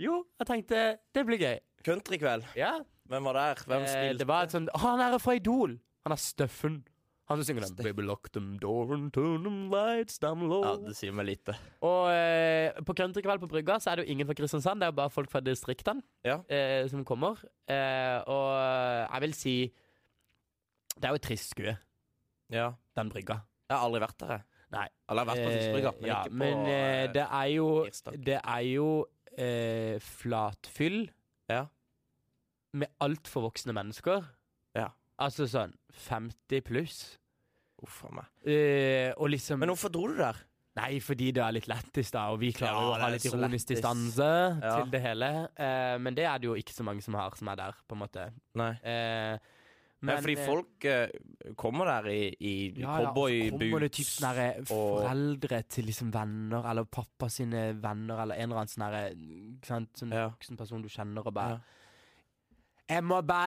Speaker 2: Jo, jeg tenkte det blir gøy.
Speaker 1: Countrykveld.
Speaker 2: Ja.
Speaker 1: Hvem var der? Hvem
Speaker 2: Eh,
Speaker 1: spilte?
Speaker 2: det var et sånt Å, han her er fra Idol! Han er Steffen. Han som synger den Baby lock them door and turn them lights down low.
Speaker 1: Ja, det sier meg lite.
Speaker 2: Og eh, på countrykveld på brygga så er det jo ingen fra Kristiansand, det er jo bare folk fra distriktene
Speaker 1: Ja.
Speaker 2: eh, som kommer. Eh, og jeg vil si Det er jo et trist skue,
Speaker 1: Ja.
Speaker 2: den brygga.
Speaker 1: Jeg har aldri vært der, jeg.
Speaker 2: Nei. Eh,
Speaker 1: Eller jeg har vært på Fiskebrygga, men
Speaker 2: ja,
Speaker 1: ikke på
Speaker 2: men eh,
Speaker 1: eh,
Speaker 2: det er jo
Speaker 1: tirsdag.
Speaker 2: Det er jo eh, flatfyll
Speaker 1: Ja.
Speaker 2: med altfor voksne mennesker.
Speaker 1: Ja.
Speaker 2: Altså sånn 50 pluss.
Speaker 1: Uff a meg.
Speaker 2: Eh, og liksom
Speaker 1: Men hvorfor dro du der?
Speaker 2: Nei, fordi det er litt lættis, da, og vi klarer
Speaker 1: Ja,
Speaker 2: jo å
Speaker 1: det
Speaker 2: ha
Speaker 1: er
Speaker 2: litt
Speaker 1: så
Speaker 2: ironisk
Speaker 1: lættis.
Speaker 2: distanse
Speaker 1: Ja.
Speaker 2: til det hele. Eh, men det er det jo ikke så mange som har, som er der, på en måte.
Speaker 1: Nei.
Speaker 2: Eh,
Speaker 1: Men, fordi
Speaker 2: eh,
Speaker 1: folk eh, kommer der i, i
Speaker 2: ja, ja, og så kommer det typ
Speaker 1: cowboyboots
Speaker 2: sånne her eh,
Speaker 1: og-
Speaker 2: foreldre til liksom venner, eller pappa sine venner, eller en eller annen sånn herre Ikke sant, sånn
Speaker 1: Ja.
Speaker 2: voksen person du kjenner, og bare Jeg må bare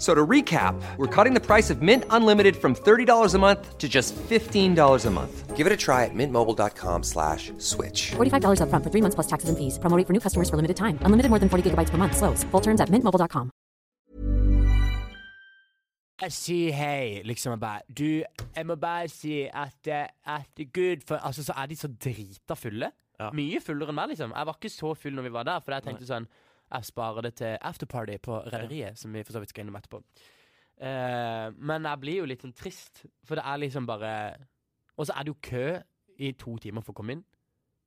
Speaker 3: So to recap, we're cutting the price of Mint Unlimited from $30 a month to just $15 a month. Give it a try at mintmobile.com slash switch.
Speaker 4: $45 upfront for three months plus taxes and fees. Promo rate for new customers for limited time. Unlimited more than 40 gigabytes per month. Slows. Full terms at mintmobile.com.
Speaker 2: Jeg sier hei, liksom. Jeg bare Du, jeg må bare si at, eh, at Gud for, Altså, så er de så drita fulle.
Speaker 1: Ja.
Speaker 2: Mye fullere enn meg, liksom. Jeg var ikke så full når vi var der, for jeg tenkte sånn Jeg sparer det til afterparty på Rederiet, som vi for så vidt skal innom etterpå. Eh, men jeg blir jo litt sånn trist, for det er liksom bare Og så er det jo kø i to timer for å komme inn.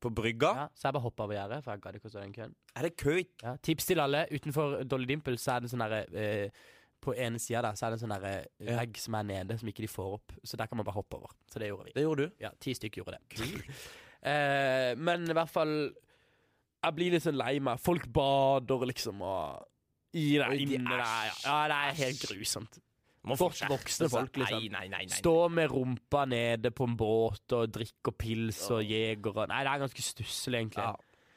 Speaker 1: på brygga.
Speaker 2: Ja, så jeg bare hoppa over gjerdet, for jeg gadd ikke å stå i den køen.
Speaker 1: Er det kø? i-
Speaker 2: Ja, tips til alle. Utenfor Dolly Dimple så er det en sånn derre eh, På ene sida der så er det en sånn derre
Speaker 1: Ja.
Speaker 2: vegg som er nede, som ikke de får opp. Så der kan man bare hoppe over. Så det gjorde vi.
Speaker 1: Det gjorde du.
Speaker 2: Ja, ti stykk gjorde det. eh, men i hvert fall Jeg blir litt sånn lei meg. Folk bader liksom og i det
Speaker 1: Oi, de
Speaker 2: inne
Speaker 1: er-
Speaker 2: der. Ja. ja, det er helt grusomt.
Speaker 1: Må
Speaker 2: Godt
Speaker 1: fortsette.
Speaker 2: voksne folk, liksom.
Speaker 1: Nei, nei, nei, nei.
Speaker 2: Stå med rumpa nede på en båt og drikke og pils og jeger og Nei, det er ganske stusslig, egentlig.
Speaker 1: Ja.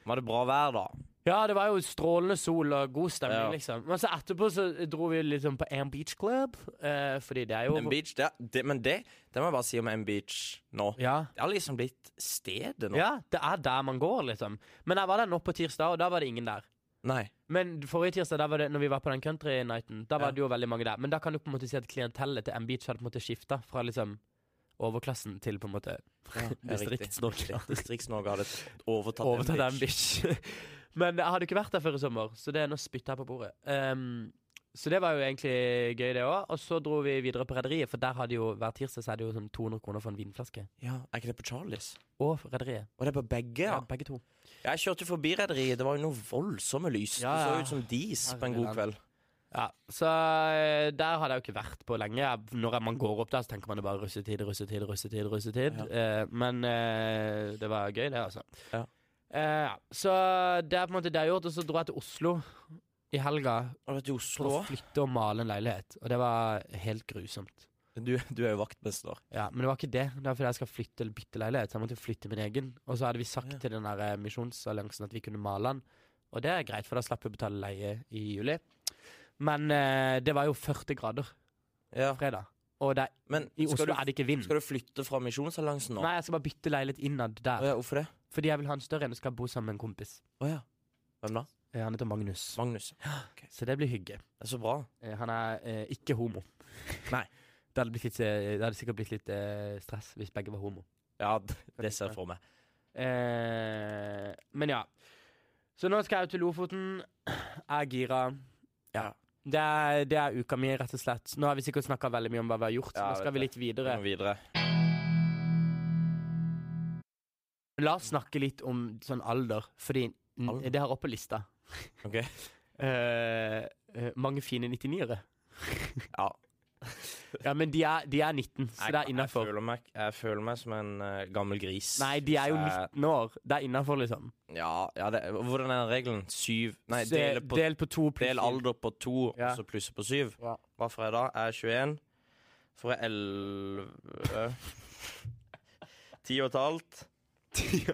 Speaker 1: Var det bra vær, da?
Speaker 2: Ja, det var jo strålende sol og god stemning,
Speaker 1: Ja.
Speaker 2: liksom. Men så etterpå så dro vi liksom på Am Beach Club, eh, fordi det er jo
Speaker 1: M Beach, det, det, men det, det må jeg bare si om M Beach nå.
Speaker 2: Ja.
Speaker 1: Det har liksom blitt stedet nå.
Speaker 2: ja, det er der man går, liksom. Men jeg var der nå på tirsdag, og da var det ingen der.
Speaker 1: Nei.
Speaker 2: Men forrige tirsdag, da var det, når vi var på den country-nighten, da var
Speaker 1: Ja.
Speaker 2: det jo veldig mange der. Men da kan du på en måte si at klientellet til M Beach hadde på en måte skifta fra liksom overklassen til på en måte
Speaker 1: Ja,
Speaker 2: Distrikts-Norge.
Speaker 1: Distrikts-Norge hadde overtatt,
Speaker 2: overtatt
Speaker 1: M
Speaker 2: M Beach. Men jeg hadde ikke vært der før i sommer, så det er nå spytta jeg på bordet. Ehm, så det var jo egentlig gøy, det òg. Og så dro vi videre på Rederiet, for der hadde jo hver tirsdag så er det jo sånn 200 kroner for en vinflaske.
Speaker 1: Ja, Er ikke det på Charlies?
Speaker 2: Og for Rederiet.
Speaker 1: Og det er på begge, ja.
Speaker 2: Ja, begge to.
Speaker 1: Jeg kjørte forbi rederiet. Det var jo noe voldsomme lys.
Speaker 2: Ja,
Speaker 1: Det
Speaker 2: ja.
Speaker 1: så ut som dis på en god
Speaker 2: Herreland.
Speaker 1: kveld.
Speaker 2: Ja, Så eh, der hadde jeg jo ikke vært på lenge. Jeg- Når man går opp der, så tenker man det bare russetid, russetid, russetid. russetid. Eh, men eh, det var gøy, det, altså.
Speaker 1: Ja.
Speaker 2: Eh, ja. Så det er på en måte det jeg har gjort. Og så dro jeg til Oslo i helga
Speaker 1: Og vet du,
Speaker 2: for
Speaker 1: Oslo
Speaker 2: å
Speaker 1: også.
Speaker 2: flytte og male en leilighet. Og det var helt grusomt.
Speaker 1: du, du er jo vaktmester.
Speaker 2: Ja, Men det var ikke det. Det var fordi jeg skal flytte eller bytte leilighet. Så jeg måtte flytte min egen. Og så hadde vi sagt
Speaker 1: Ja.
Speaker 2: til den der eh, misjonsalliansen at vi kunne male den. Og det er greit, for da slapp vi å betale leie i juli. Men eh, det var jo 40 grader
Speaker 1: Ja.
Speaker 2: fredag. Og det, er-
Speaker 1: Men
Speaker 2: i Oslo
Speaker 1: skal du,
Speaker 2: er det ikke vind.
Speaker 1: skal du flytte fra Misjonsalliansen nå?
Speaker 2: Nei, jeg skal bare bytte leilighet innad
Speaker 1: Å
Speaker 2: der.
Speaker 1: ja, hvorfor det?
Speaker 2: Fordi jeg vil ha en større en og skal bo sammen med en kompis.
Speaker 1: Å ja. Hvem da?
Speaker 2: Eh, Han heter Magnus.
Speaker 1: Magnus.
Speaker 2: Så det blir hygge.
Speaker 1: Det er så bra.
Speaker 2: Eh, Han er eh, ikke homo.
Speaker 1: Nei.
Speaker 2: Det hadde, blitt litt, eh, det hadde sikkert blitt litt eh, stress hvis begge var homo.
Speaker 1: Ja, d- det ser jeg for meg.
Speaker 2: Eh, men ja. Så nå skal jeg jo til Lofoten. Jeg er gira.
Speaker 1: Ja.
Speaker 2: Det er, det er uka mi, rett og slett. Nå har vi sikkert snakka veldig mye om hva vi har gjort.
Speaker 1: Ja,
Speaker 2: nå
Speaker 1: jeg
Speaker 2: skal
Speaker 1: vet
Speaker 2: vi litt
Speaker 1: Vi
Speaker 2: videre.
Speaker 1: må videre.
Speaker 2: La oss snakke litt om sånn alder, fordi n-
Speaker 1: Alder?
Speaker 2: det har oppe lista.
Speaker 1: Ok.
Speaker 2: Eh, eh, mange fine 99-ere.
Speaker 1: Ja.
Speaker 2: Ja, men de er, de er 19, så det
Speaker 1: Jeg-
Speaker 2: er innafor.
Speaker 1: Jeg, føler meg- jeg føler meg som en eh, gammel gris.
Speaker 2: Nei, de er jo
Speaker 1: Så
Speaker 2: 19 år. Det er innafor, liksom.
Speaker 1: jeg- Ja, ja det, Hvordan er den regelen? Syv Nei,
Speaker 2: Se-
Speaker 1: dele på, del,
Speaker 2: del på to pluss syv.
Speaker 1: alder på to,
Speaker 2: Ja.
Speaker 1: og så plusse på syv.
Speaker 2: Ja.
Speaker 1: Hva får jeg da? Jeg er 21. Får jeg 11 10 og et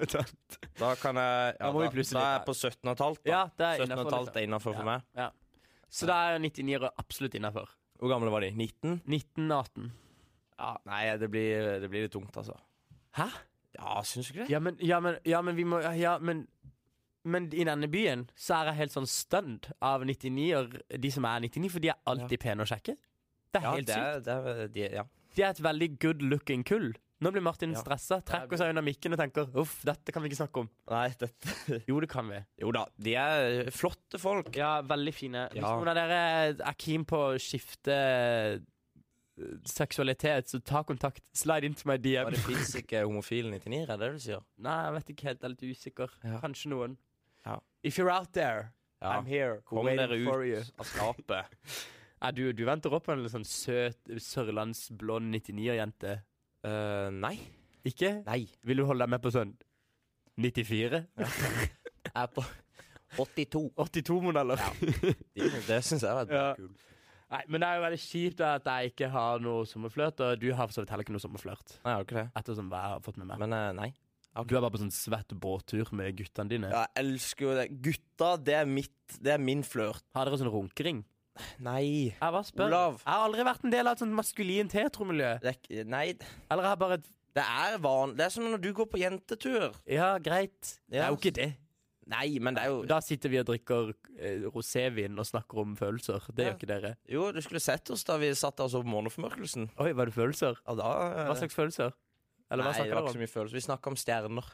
Speaker 1: halvt. Da kan jeg ja,
Speaker 2: Da må vi
Speaker 1: da,
Speaker 2: plusse
Speaker 1: da er jeg
Speaker 2: litt
Speaker 1: på 17 og et halvt. Da.
Speaker 2: Ja, det er
Speaker 1: 17 og et
Speaker 2: innenfor, liksom.
Speaker 1: halvt er innafor for
Speaker 2: Ja.
Speaker 1: meg.
Speaker 2: Så da er 99-ere absolutt innafor.
Speaker 1: Hvor gamle var de? 19?
Speaker 2: 19-18.
Speaker 1: Ja, nei, det blir, det blir litt tungt, altså.
Speaker 2: Hæ?
Speaker 1: Ja, syns du ikke det?
Speaker 2: Ja, men, ja, men, ja, men vi må Ja, men men i denne byen så er jeg helt sånn stunned av 99-er, de som er 99, for de er alltid pene å sjekke. Det er
Speaker 1: Ja,
Speaker 2: helt
Speaker 1: det
Speaker 2: sykt.
Speaker 1: er, det er, de, ja.
Speaker 2: De er et veldig good looking kull. Nå blir Martin stressa, trekker seg under mikken og tenker uff, dette kan vi ikke snakke om.
Speaker 1: Nei, dette
Speaker 2: Jo, det kan vi.
Speaker 1: Jo da, de er flotte folk.
Speaker 2: Ja, veldig fine. Hvis
Speaker 1: Ja.
Speaker 2: noen av dere er keen på å skifte eh, seksualitet, så ta kontakt. Slide into my
Speaker 1: Ja,
Speaker 2: DM.
Speaker 1: det fins ikke homofile 99, er det det du sier?
Speaker 2: Nei, jeg vet ikke helt. Jeg er litt usikker.
Speaker 1: Ja.
Speaker 2: Kanskje noen.
Speaker 1: Ja.
Speaker 2: If you're out there,
Speaker 1: Ja.
Speaker 2: I'm here.
Speaker 1: Kom
Speaker 2: waiting
Speaker 1: dere
Speaker 2: for you.
Speaker 1: ut av skapet.
Speaker 2: Nei, du, du venter opp på en litt sånn søt sørlandsblond 99-jente.
Speaker 1: Eh, nei.
Speaker 2: Ikke?
Speaker 1: Nei.
Speaker 2: Vil du holde deg med på sånn 94?
Speaker 1: Jeg er på 82.
Speaker 2: 82-modeller?
Speaker 1: De, det syns jeg var
Speaker 2: Ja.
Speaker 1: kult.
Speaker 2: Nei, men det er jo veldig kjipt at jeg ikke har noe sommerflørt, og du har for så vidt heller ikke noe sommerflørt.
Speaker 1: Nei, jeg har ikke det.
Speaker 2: Ettersom hva jeg har fått med meg.
Speaker 1: Men eh, nei.
Speaker 2: Du er bare på sånn svett båttur med guttene dine.
Speaker 1: Ja, jeg elsker jo det. Gutta, det er mitt Det er min flørt.
Speaker 2: Har dere sånn runkering?
Speaker 1: Nei.
Speaker 2: Jeg bare spør.
Speaker 1: Olav.
Speaker 2: Jeg har aldri vært en del av et sånt maskulint heteromiljø.
Speaker 1: Det er, ikke- nei.
Speaker 2: Eller jeg har bare et
Speaker 1: Det er van... Det er som når du går på jentetur.
Speaker 2: Ja, greit. Det er jo ikke det.
Speaker 1: Nei, men det er jo
Speaker 2: Da sitter vi og drikker eh, rosévin og snakker om følelser. Det
Speaker 1: Ja.
Speaker 2: gjør ikke dere.
Speaker 1: Jo, du skulle sett oss da vi satt oss over morgenformørkelsen.
Speaker 2: Oi, var det følelser?
Speaker 1: Ja, da eh,
Speaker 2: Hva slags følelser? Eller hva
Speaker 1: Nei, det var ikke så
Speaker 2: snakker dere om?
Speaker 1: mye følelse. Vi snakka om stjerner.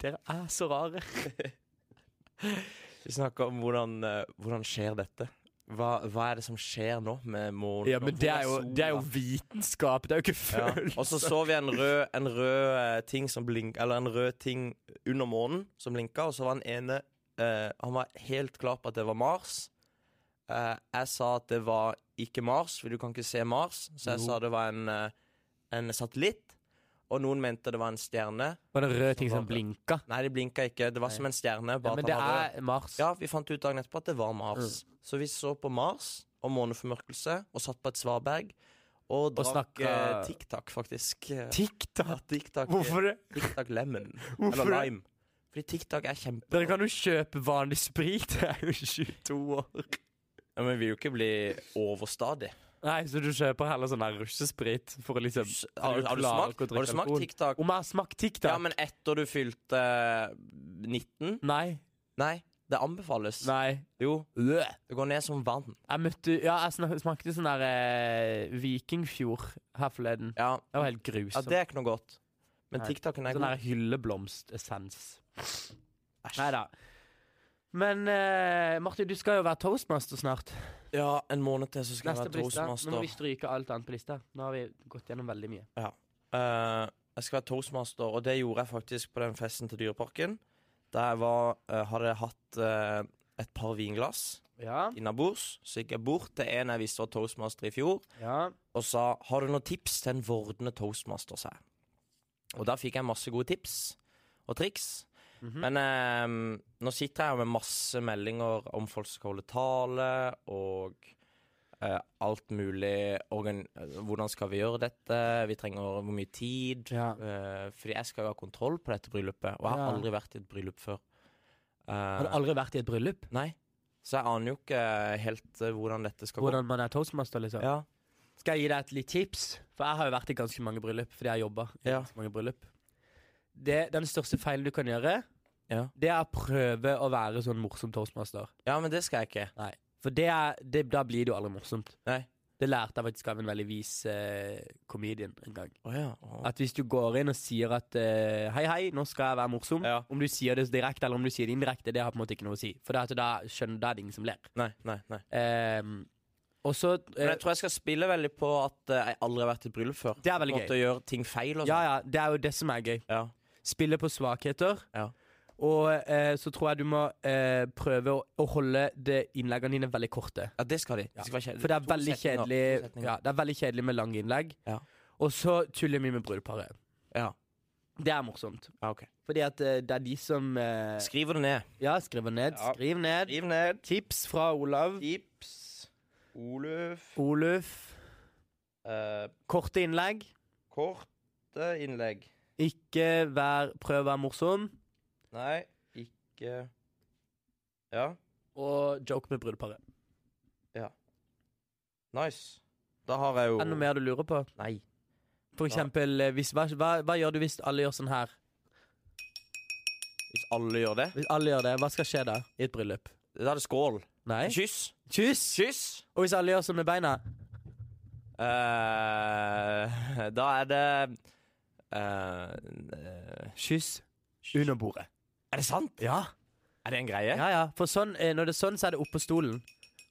Speaker 2: Dere er så rare.
Speaker 1: Vi snakka om hvordan, eh, hvordan skjer dette. Hva, hva er det som skjer nå med månen?
Speaker 2: Ja, men det er, jo, det er jo vitenskap. Det er jo ikke
Speaker 1: ja.
Speaker 2: følelser.
Speaker 1: Og så så vi en rød, en rød eh, ting som blink, Eller en rød ting under månen som blinka, og så var han ene eh, Han var helt klar på at det var Mars. Eh, jeg sa at det var ikke Mars, for du kan ikke se Mars. Så jeg
Speaker 2: Jo.
Speaker 1: sa det var en, eh, en satellitt. Og noen mente det var en stjerne.
Speaker 2: Var det en rød ting som
Speaker 1: Var det-
Speaker 2: blinka?
Speaker 1: Nei, det blinka ikke. Det var som en stjerne.
Speaker 2: Ja,
Speaker 1: Bare
Speaker 2: men
Speaker 1: at
Speaker 2: det
Speaker 1: han var rød.
Speaker 2: er Mars.
Speaker 1: Ja, vi fant ut dagen etterpå at det var Mars.
Speaker 2: Mm.
Speaker 1: Så vi så på Mars og måneformørkelse og satt på et svaberg. Og drakk
Speaker 2: snakka-
Speaker 1: eh, Tic Tac, faktisk. Eh,
Speaker 2: TikTok.
Speaker 1: Tic Tac,
Speaker 2: Hvorfor det?
Speaker 1: Tic Tac Lemon.
Speaker 2: Hvorfor
Speaker 1: Eller
Speaker 2: det?
Speaker 1: Lime. Fordi Tic Tac er kjempe...
Speaker 2: Dere kan jo kjøpe vanlig sprit. Jeg er jo 22 år.
Speaker 1: Ja, men vi vil jo ikke bli overstadig.
Speaker 2: Nei, så du kjøper heller sånn der russesprit for å liksom
Speaker 1: Har,
Speaker 2: for å
Speaker 1: du- har du
Speaker 2: klare
Speaker 1: smakt,
Speaker 2: ikke å drikke
Speaker 1: har du smakt
Speaker 2: alkohol.
Speaker 1: Tic Tac?
Speaker 2: Om jeg har smakt TikTok?
Speaker 1: Ja, men etter du fylte eh, 19?
Speaker 2: Nei.
Speaker 1: Nei, det anbefales.
Speaker 2: Nei.
Speaker 1: Jo,
Speaker 2: Øh.
Speaker 1: det går ned som vann.
Speaker 2: Jeg møtte Ja, jeg snak, smakte sånn der eh, Vikingfjord her forleden.
Speaker 1: Ja,
Speaker 2: Det var
Speaker 1: ja
Speaker 2: helt grusomt.
Speaker 1: det er ikke noe godt. Men
Speaker 2: Nei.
Speaker 1: Tic Tacen er
Speaker 2: Sånn der
Speaker 1: god.
Speaker 2: hylleblomstessens. Nei da. Men eh, Martin, du skal jo være toastmaster snart.
Speaker 1: Ja, en måned til så skal jeg
Speaker 2: Neste
Speaker 1: være
Speaker 2: på lista. Nå må
Speaker 1: toastmaster.
Speaker 2: vi stryke alt annet på lista. Nå har vi gått gjennom veldig mye.
Speaker 1: Eh, jeg skal være toastmaster, og det gjorde jeg faktisk på den festen til Dyreparken. Da jeg var, eh, hadde hatt eh, et par vinglass
Speaker 2: Ja,
Speaker 1: innabords. Så gikk jeg bort til en jeg visste var toastmaster i fjor,
Speaker 2: ja.
Speaker 1: og sa 'Har du noen tips til en vordende toastmaster?' sa jeg. Og da fikk jeg masse gode tips og triks.
Speaker 2: Mhm.
Speaker 1: Men eh, nå sitter jeg jo med masse meldinger om folk som skal holde tale, og eh, alt mulig. Organ hvordan skal vi gjøre dette? Vi trenger hvor mye tid?
Speaker 2: ja.
Speaker 1: Eh, fordi jeg skal jo ha kontroll på dette bryllupet, og jeg har
Speaker 2: Ja.
Speaker 1: aldri vært i et bryllup før. Eh,
Speaker 2: Har du aldri vært i et bryllup?
Speaker 1: Nei. Så jeg aner jo ikke helt eh, hvordan dette skal
Speaker 2: Hvordan man er toastmaster,
Speaker 1: gå.
Speaker 2: liksom?
Speaker 1: Ja.
Speaker 2: Skal jeg gi deg et litt tips? For jeg har jo vært i ganske mange bryllup, fordi jeg jobba i
Speaker 1: Ja.
Speaker 2: ganske mange bryllup. Det, den største feilen du kan gjøre,
Speaker 1: Ja.
Speaker 2: det er å prøve å være sånn morsom toastmaster.
Speaker 1: ja, men det skal jeg ikke.
Speaker 2: For det er, det, da blir det jo aldri morsomt.
Speaker 1: Nei.
Speaker 2: Det lærte jeg faktisk av en veldig vis eh, comedian en gang.
Speaker 1: Å ja. å.
Speaker 2: At hvis du går inn og sier at eh, hei, hei, nå skal jeg være morsom,
Speaker 1: Ja.
Speaker 2: om du sier det direkte eller om du sier det indirekte, det har på en måte ikke noe å si. For det at da skjønner da er det ingen som ler.
Speaker 1: Nei, nei, nei.
Speaker 2: Ehm, og så
Speaker 1: Men
Speaker 2: eh,
Speaker 1: jeg tror jeg skal spille veldig på at eh, jeg aldri har vært i et bryllup før.
Speaker 2: Det er veldig
Speaker 1: Måtte
Speaker 2: gøy.
Speaker 1: gjøre ting feil og
Speaker 2: Ja,
Speaker 1: sånn.
Speaker 2: ja, det er jo det som er gøy.
Speaker 1: Ja.
Speaker 2: Spille på svakheter.
Speaker 1: Ja.
Speaker 2: Og eh, så tror jeg du må eh, prøve å, å holde det innleggene dine veldig korte.
Speaker 1: ja, det skal de. Det skal være kjedelig.
Speaker 2: For det er
Speaker 1: To
Speaker 2: veldig
Speaker 1: setninger,
Speaker 2: kjedelig,
Speaker 1: to setninger.
Speaker 2: ja, det er veldig kjedelig med lange innlegg.
Speaker 1: Ja.
Speaker 2: Og så tuller vi med brudeparet.
Speaker 1: Ja.
Speaker 2: Det er morsomt.
Speaker 1: Ja, ok.
Speaker 2: Fordi at eh, det er de som eh,
Speaker 1: Skriver det ned.
Speaker 2: Ja, skriver ned.
Speaker 1: Ja.
Speaker 2: Skriv ned.
Speaker 1: Skriv ned.
Speaker 2: Tips fra Olav.
Speaker 1: Tips. Oluf.
Speaker 2: Oluf.
Speaker 1: Eh,
Speaker 2: Korte innlegg.
Speaker 1: korte innlegg.
Speaker 2: Ikke vær, prøv å være morsom.
Speaker 1: Nei, ikke Ja,
Speaker 2: Og joke med brudeparet.
Speaker 1: nice. Da har jeg jo
Speaker 2: Er det noe mer du lurer på?
Speaker 1: Nei.
Speaker 2: For
Speaker 1: Ja.
Speaker 2: eksempel, eh, hvis, hva, hva, hva gjør du hvis alle gjør sånn her?
Speaker 1: Hvis alle gjør det,
Speaker 2: Hvis alle gjør det, Hva skal skje da? I et bryllup?
Speaker 1: da er det skål.
Speaker 2: Nei.
Speaker 1: Kyss.
Speaker 2: Kyss.
Speaker 1: Kyss.
Speaker 2: Og hvis alle gjør som med beina
Speaker 1: Eh, da er det eh,
Speaker 2: Kyss under bordet.
Speaker 1: Er det sant?
Speaker 2: Ja.
Speaker 1: Er det en greie?
Speaker 2: ja, ja. For sånn, eh, når det er sånn, så er det oppå stolen.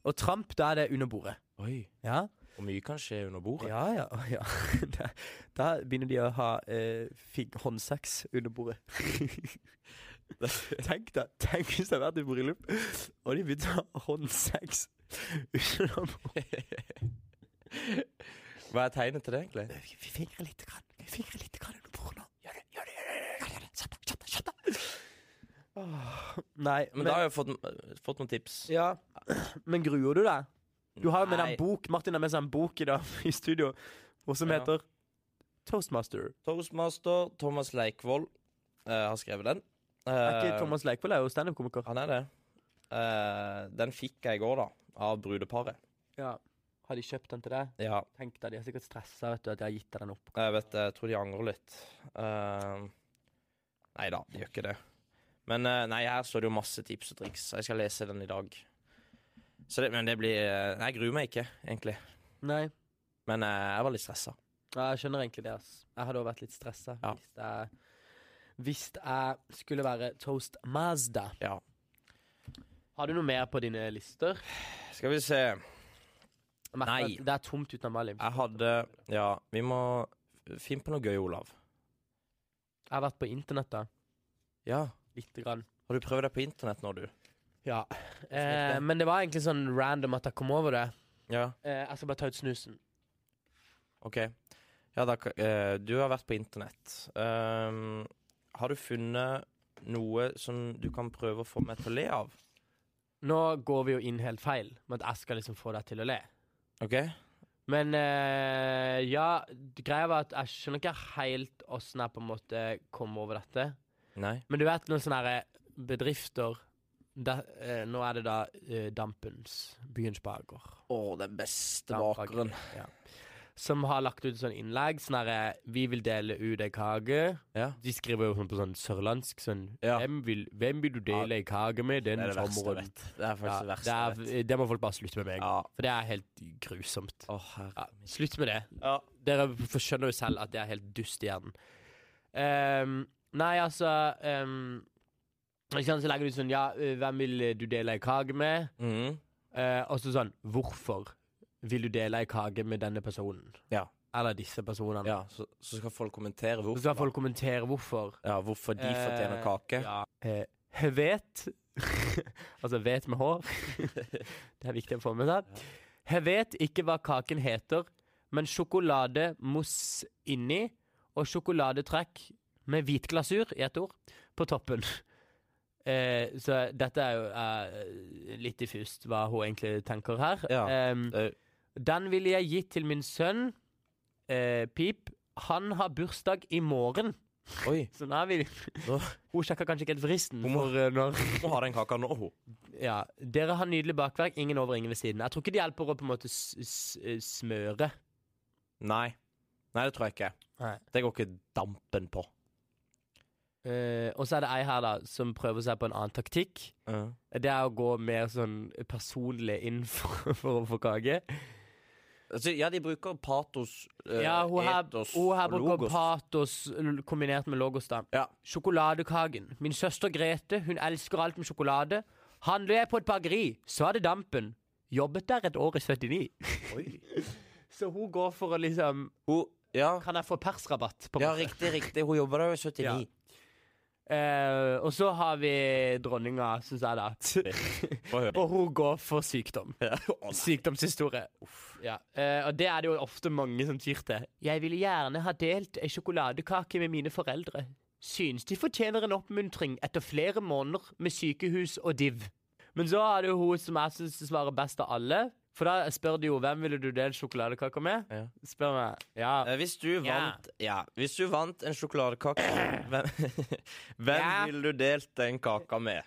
Speaker 2: Og tramp, da er det under bordet.
Speaker 1: Oi.
Speaker 2: Ja.
Speaker 1: Hvor mye kan skje under bordet?
Speaker 2: Ja, ja. å, ja. Da, da begynner de å ha eh, fing- håndsex under bordet. tenk deg Tenk hvis det hadde vært i bryllup, og de begynte å ha håndsex under bordet.
Speaker 1: Hva er tegnet til det, egentlig?
Speaker 2: Vi fingrer lite grann. Vi fingrer lite grann under bordet nå. Gjør det, gjør det, gjør det, gjør det. Gjør det. Kjapt, da, kjapt, da, kjapt, da. Åh, Nei,
Speaker 1: Men, da har jeg fått, fått noen tips.
Speaker 2: ja. men gruer du deg? Du har jo med deg
Speaker 1: Nei.
Speaker 2: en bok. Martin har med seg en bok i dag i studio, og som
Speaker 1: Ja.
Speaker 2: heter Toastmaster.
Speaker 1: Toastmaster Thomas Leikvoll eh, har skrevet den.
Speaker 2: Er
Speaker 1: Eh,
Speaker 2: ikke Thomas Leikvoll er jo standup-komiker.
Speaker 1: Han er det. Eh, den fikk jeg i går, da. Av brudeparet.
Speaker 2: Ja. Har de kjøpt den til deg?
Speaker 1: Ja,
Speaker 2: Tenk deg, De er sikkert stressa vet du, at jeg har gitt deg den opp.
Speaker 1: jeg vet det. Jeg tror de angrer litt. Eh, nei da, de gjør ikke det. Men eh, nei, her står det jo masse tips og triks. Jeg skal lese den i dag. Så det, men det blir eh, Nei, jeg gruer meg ikke, egentlig.
Speaker 2: Nei,
Speaker 1: Men eh, jeg var litt stressa.
Speaker 2: ja, jeg skjønner egentlig det. ass. Jeg hadde også vært litt stressa
Speaker 1: Ja.
Speaker 2: hvis, jeg- hvis jeg skulle være Toast Mazda.
Speaker 1: Ja.
Speaker 2: Har du noe mer på dine lister?
Speaker 1: Skal vi se.
Speaker 2: Jeg merker
Speaker 1: Nei.
Speaker 2: at Det er tomt uten Amalie.
Speaker 1: Jeg hadde Ja, vi må finne på noe gøy, Olav.
Speaker 2: Jeg har vært på internett, da.
Speaker 1: Ja.
Speaker 2: Lite grann.
Speaker 1: Har du prøvd deg på internett nå, du?
Speaker 2: Ja. Eh, men det var egentlig sånn random at jeg kom over det.
Speaker 1: Ja.
Speaker 2: Eh, jeg skal bare ta ut snusen.
Speaker 1: Ok. Ja, da, ka- eh, du har vært på internett. Ehm, har du funnet noe som du kan prøve å få meg til å le av?
Speaker 2: Nå går vi jo inn helt feil med at jeg skal liksom få deg til å le.
Speaker 1: Ok?
Speaker 2: Men eh, ja, greia var at jeg skjønner ikke helt åssen jeg på en måte kom over dette.
Speaker 1: Nei.
Speaker 2: Men du vet noen sånne her eh, bedrifter da, eh, Nå er det da eh, Dampens, byens baker.
Speaker 1: Å, den beste
Speaker 2: Dampbakeren. Ja. Som har lagt ut sånn innlegg. Sånn herre Vi vil dele ut ei kake.
Speaker 1: Ja.
Speaker 2: De skriver jo sånn på sånn sørlandsk sånn
Speaker 1: Ja.
Speaker 2: hvem, vil, hvem vil du dele ei kake med
Speaker 1: Det
Speaker 2: denne
Speaker 1: er det verste jeg
Speaker 2: sommeren?
Speaker 1: vet. Det er
Speaker 2: Ja,
Speaker 1: faktisk det verste
Speaker 2: det,
Speaker 1: jeg vet.
Speaker 2: er, det må folk bare slutte med med en gang.
Speaker 1: Ja.
Speaker 2: For det er helt grusomt.
Speaker 1: Å,
Speaker 2: Ja,
Speaker 1: herre min.
Speaker 2: slutt med det.
Speaker 1: Ja.
Speaker 2: Dere for- skjønner jo selv at det er helt dust i hjernen. Ehm, nei, altså ehm, ikke sant, Så legger du ut sånn Ja, eh, hvem vil eh, du dele ei kake med?
Speaker 1: Mhm.
Speaker 2: Eh, og så sånn Hvorfor vil du dele ei kake med denne personen?
Speaker 1: Ja.
Speaker 2: Eller disse personene.
Speaker 1: ja så, så skal folk kommentere
Speaker 2: Så
Speaker 1: hvorfor,
Speaker 2: skal folk kommentere hvorfor.
Speaker 1: ja, hvorfor de fortjener
Speaker 2: Eh,
Speaker 1: kake.
Speaker 2: Ja. Eh, Hevet Altså vet med hår. det er viktig å få med seg. Jeg vet ikke hva kaken heter, men sjokolademousse inni og sjokoladetrekk med hvit glasur i ett ord på toppen. Eh, så dette er jo eh, litt diffust hva hun egentlig tenker her.
Speaker 1: Ja.
Speaker 2: Em,
Speaker 1: Eh,
Speaker 2: den ville jeg gitt til min sønn eh, Pip. Han har bursdag i morgen.
Speaker 1: oi,
Speaker 2: Så nå er vi
Speaker 1: Nå-
Speaker 2: Hun sjekker kanskje ikke helt fristen.
Speaker 1: Hun må-
Speaker 2: For, eh, når,
Speaker 1: hun har den kaka nå, hun.
Speaker 2: ja. Dere har nydelig bakverk, ingen over, ingen ved siden. Jeg tror ikke det hjelper å på en måte s s eh, smøre.
Speaker 1: Nei. Nei, det tror jeg ikke.
Speaker 2: Nei.
Speaker 1: Det går ikke dampen på.
Speaker 2: Eh, og så er det ei her da som prøver seg på en annen taktikk. Det er å gå mer sånn personlig inn for, for å få kake.
Speaker 1: Altså, ja, de bruker patos, eh,
Speaker 2: Ja, hun her,
Speaker 1: etos
Speaker 2: hun her
Speaker 1: og
Speaker 2: bruker
Speaker 1: logos.
Speaker 2: patos l- kombinert med logos, da.
Speaker 1: Ja.
Speaker 2: Sjokoladekaken. Min søster Grete, hun elsker alt med sjokolade. Handler jeg på et bakeri, så er det dampen. Jobbet der et år i 79. Så hun går for å liksom
Speaker 1: Hun, ja,
Speaker 2: Kan jeg få persrabatt? på en
Speaker 1: ja,
Speaker 2: måte?
Speaker 1: riktig, riktig. Hun jobber der jo i 79.
Speaker 2: Ja. Eh, og så har vi dronninga, syns jeg, da.
Speaker 1: Få høre.
Speaker 2: og hun går for sykdom.
Speaker 1: Å, nei.
Speaker 2: Sykdomshistorie. Ja. Eh, og det er det jo ofte mange som tyr til. Jeg ville gjerne ha delt ei sjokoladekake med mine foreldre. Synes de fortjener en oppmuntring etter flere måneder med sykehus og div. Men så er det jo hun som jeg syns svarer best av alle. For da spør de jo hvem ville du delt sjokoladekaka med.
Speaker 1: Ja.
Speaker 2: Spør meg. Ja.
Speaker 1: Eh, Hvis du vant ja. Hvis du vant en sjokoladekake, hvem, hvem
Speaker 2: Ja.
Speaker 1: ville du delt den kaka med?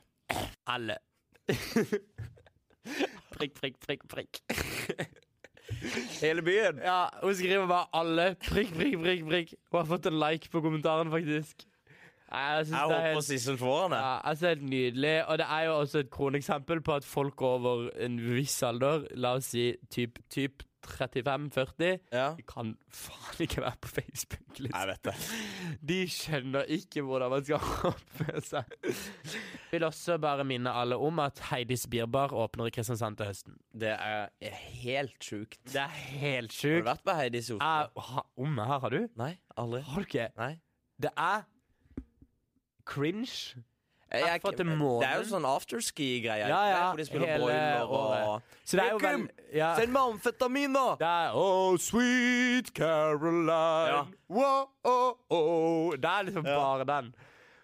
Speaker 2: Alle. prikk, prikk, prikk, prikk.
Speaker 1: Hele byen?
Speaker 2: Ja, Hun skriver bare 'alle'. Prikk, prikk, prikk. prikk Hun har fått en like på kommentaren, faktisk. Jeg, synes
Speaker 1: Jeg
Speaker 2: det er
Speaker 1: håper
Speaker 2: helt,
Speaker 1: Sissel får han det.
Speaker 2: ja, jeg synes det er helt nydelig. Og det er jo også et kroneksempel på at folk over en viss alder, la oss si typ, typ 35-40,
Speaker 1: Ja.
Speaker 2: de kan faen ikke være på Facebook. Liksom.
Speaker 1: Jeg vet det.
Speaker 2: De skjønner ikke hvordan man skal oppføre seg. Vil også bare minne alle om at Heidis Birbar åpner i Kristiansand til høsten.
Speaker 1: Det er helt sjukt.
Speaker 2: Det er helt
Speaker 1: Har du
Speaker 2: sjukt.
Speaker 1: vært på Heidi Sofa?
Speaker 2: Jeg- ha- Om jeg her, har du?
Speaker 1: Nei, aldri.
Speaker 2: Har du ikke?
Speaker 1: Nei.
Speaker 2: Det er cringe.
Speaker 1: Jeg-
Speaker 2: har fått det
Speaker 1: det er jo
Speaker 2: måneden.
Speaker 1: sånn afterski-greier.
Speaker 2: Ja, ja,
Speaker 1: Hvor de spiller
Speaker 2: hele
Speaker 1: boiler og
Speaker 2: året. Så det er jo
Speaker 1: Joakim,
Speaker 2: veld- ja.
Speaker 1: Send meg amfetamin, da!
Speaker 2: Det er Oh, sweet Caroline.
Speaker 1: Ja.
Speaker 2: Wow, oh, oh. Det er liksom bare den.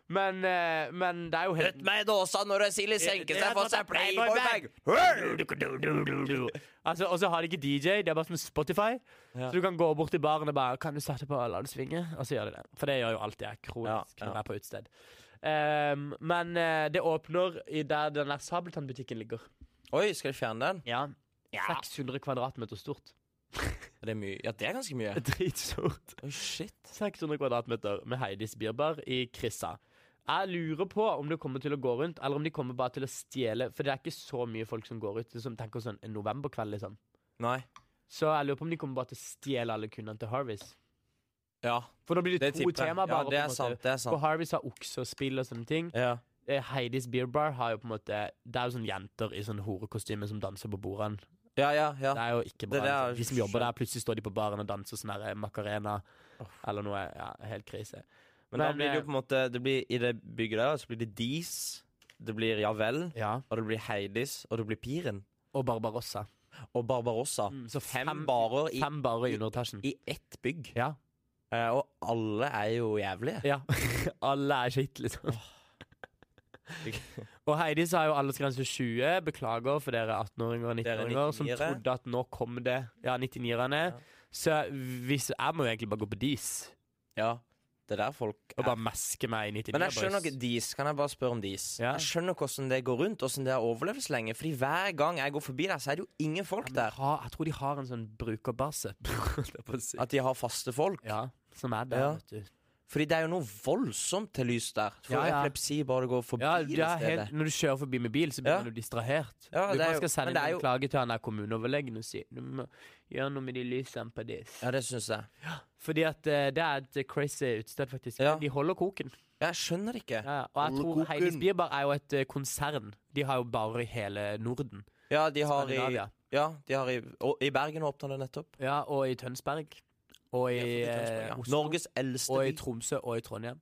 Speaker 2: Men, eh, men det er jo helt
Speaker 1: Møtt meg i dåsa når Silje senker seg
Speaker 2: sånn
Speaker 1: for seg Playboy-bag!
Speaker 2: Altså, Og så har de ikke DJ, det er bare som Spotify. Så du kan gå bort til baren og bare Kan du starte på La det svinge? Og så gjør de det. For det gjør jo alltid jeg kronisk
Speaker 1: Ja, ja.
Speaker 2: når jeg er på utested. Ehm, men eh, det åpner i der den der Sabeltann-butikken ligger.
Speaker 1: Oi, skal jeg fjerne den?
Speaker 2: Ja. 600 kvadratmeter stort.
Speaker 1: Det er mye. Ja, det er ganske mye.
Speaker 2: Dritstort.
Speaker 1: Oi, shit.
Speaker 2: 600 kvadratmeter med Heidis Birbar i Krissa. Jeg lurer på om det kommer til å gå rundt, eller om de kommer bare til å stjele. For det er ikke så mye folk som går ut. Som tenker sånn en novemberkveld, liksom.
Speaker 1: Nei.
Speaker 2: Så jeg lurer på om de kommer bare til å stjele alle kundene til Harvis.
Speaker 1: Ja,
Speaker 2: For da blir det,
Speaker 1: Det
Speaker 2: to
Speaker 1: tipper jeg.
Speaker 2: temaer
Speaker 1: Ja,
Speaker 2: bare.
Speaker 1: det er
Speaker 2: på en måte.
Speaker 1: sant, det er sant.
Speaker 2: For Harvis har okse og spill og sånne ting.
Speaker 1: ja.
Speaker 2: Eh, Heidis Beer Bar har jo på en måte Det er jo sånne jenter i sånne horekostyme som danser på bordene.
Speaker 1: Ja, ja, ja.
Speaker 2: Det er jo ikke bra.
Speaker 1: Det der er
Speaker 2: liksom. De som jobber der, plutselig står de på baren og danser sånn her, eh, Macarena eller noe. Ja, helt krise.
Speaker 1: Men, da blir det jo
Speaker 2: eh,
Speaker 1: på en måte det blir, I det bygget der så blir det Dis, det blir Ja vel,
Speaker 2: Ja.
Speaker 1: og det blir Heidis, og det blir Piren.
Speaker 2: Og Barbarossa.
Speaker 1: Og Barbarossa.
Speaker 2: så
Speaker 1: fem,
Speaker 2: Mm. fem-
Speaker 1: barer i,
Speaker 2: Fem barer i underetasjen.
Speaker 1: i ett bygg.
Speaker 2: Ja.
Speaker 1: Eh, og alle er jo jævlige.
Speaker 2: ja. Alle er skitt, liksom. Og Heidi sa jo aldersgrense 20. Beklager for dere 18-åringer og
Speaker 1: Dere
Speaker 2: 19-åringer som
Speaker 1: 99-ere.
Speaker 2: trodde at nå kom det Ja, 99-erne. Så hvis, jeg må jo egentlig bare gå på dis
Speaker 1: Ja, det er der folk
Speaker 2: og
Speaker 1: er.
Speaker 2: bare meske meg i 99
Speaker 1: Men jeg skjønner ikke Dis. Kan jeg bare spørre om Dis?
Speaker 2: Ja.
Speaker 1: Jeg skjønner ikke hvordan det går rundt, hvordan det har overlevd så lenge. Fordi hver gang jeg går forbi der, så er det jo ingen folk der.
Speaker 2: ha, Jeg tror de har en sånn brukerbase. holdt jeg på å si.
Speaker 1: At de har faste folk.
Speaker 2: ja, som er der,
Speaker 1: Ja.
Speaker 2: vet du.
Speaker 1: Fordi det er jo noe voldsomt til lys der. Du får
Speaker 2: Ja, ja.
Speaker 1: epilepsi bare du går forbi
Speaker 2: Ja,
Speaker 1: det
Speaker 2: det er
Speaker 1: stedet.
Speaker 2: helt, når du kjører forbi med bil, så blir
Speaker 1: Ja.
Speaker 2: du distrahert.
Speaker 1: Ja,
Speaker 2: du
Speaker 1: det er
Speaker 2: bare
Speaker 1: jo-
Speaker 2: skal
Speaker 1: men
Speaker 2: sende
Speaker 1: det
Speaker 2: inn
Speaker 1: er
Speaker 2: en
Speaker 1: jo-
Speaker 2: klage til han der kommuneoverlegen og si du må gjøre noe med de lysene på dis.
Speaker 1: Ja, det syns jeg.
Speaker 2: Fordi at eh, det er et crazy utested, faktisk.
Speaker 1: Ja.
Speaker 2: De holder koken.
Speaker 1: Jeg skjønner det ikke.
Speaker 2: Ja, ja. og jeg tror
Speaker 1: Koken.
Speaker 2: Heidis Bierbar er jo et eh, konsern. De har jo barer i hele Norden.
Speaker 1: Ja, de har i
Speaker 2: Skandinavia.
Speaker 1: Ja, de har i, og, i Bergen åpna det nettopp.
Speaker 2: Ja, og i Tønsberg. Og i
Speaker 1: Ja, for det er
Speaker 2: eh,
Speaker 1: Tønsberg, ja.
Speaker 2: Oslo.
Speaker 1: Norges eldste
Speaker 2: og i
Speaker 1: by.
Speaker 2: Tromsø og i Trondheim.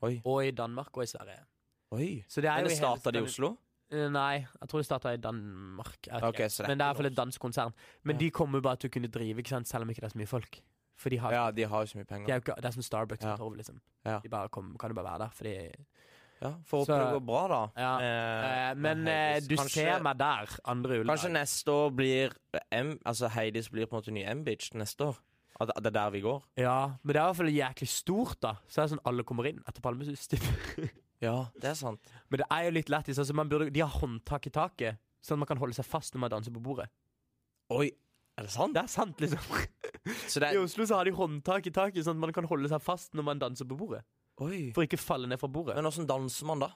Speaker 1: Oi.
Speaker 2: Og i Danmark og i Sverige.
Speaker 1: Oi.
Speaker 2: Så det er
Speaker 1: Men
Speaker 2: jo
Speaker 1: det
Speaker 2: i hele
Speaker 1: starta de i
Speaker 2: Skandin-
Speaker 1: Oslo?
Speaker 2: Eh, Nei, jeg tror det starta i Danmark. Jeg vet
Speaker 1: Ok,
Speaker 2: ikke.
Speaker 1: så det er
Speaker 2: Men det
Speaker 1: ikke
Speaker 2: er i hvert fall et dansk konsern. Men de kommer jo bare til å kunne drive, ikke sant? selv om ikke det er så mye folk. For de har
Speaker 1: Ja, de har jo så mye
Speaker 2: De
Speaker 1: penger.
Speaker 2: er jo ikke, det er som Starbucks
Speaker 1: Ja.
Speaker 2: på Torv, liksom.
Speaker 1: Ja.
Speaker 2: De bare kom, kan jo bare være der, fordi
Speaker 1: Ja, Får håpe
Speaker 2: Så-
Speaker 1: det går bra, da.
Speaker 2: ja.
Speaker 1: Eh,
Speaker 2: Eh, Men eh,
Speaker 1: Heidis.
Speaker 2: du
Speaker 1: Kanskje-
Speaker 2: ser meg der,
Speaker 1: Kanskje
Speaker 2: andre juledag.
Speaker 1: neste år blir M, Altså Heidis blir på en måte ny M-bitch neste år. At at det er der vi går.
Speaker 2: Ja, men det er i hvert fall jæklig stort, da. Så er det sånn alle kommer inn etter Palmesus. typ.
Speaker 1: Ja, det er sant.
Speaker 2: men det er jo litt lættis. Altså, man burde- de har håndtak i taket, sånn at man kan holde seg fast når man danser på bordet.
Speaker 1: Oi, er det sant?
Speaker 2: Det er sant, liksom.
Speaker 1: Så det
Speaker 2: I
Speaker 1: er
Speaker 2: Oslo så har de håndtak i taket, sånn at man kan holde seg fast når man danser på bordet.
Speaker 1: Oi.
Speaker 2: For ikke falle ned fra bordet.
Speaker 1: Men åssen danser man da?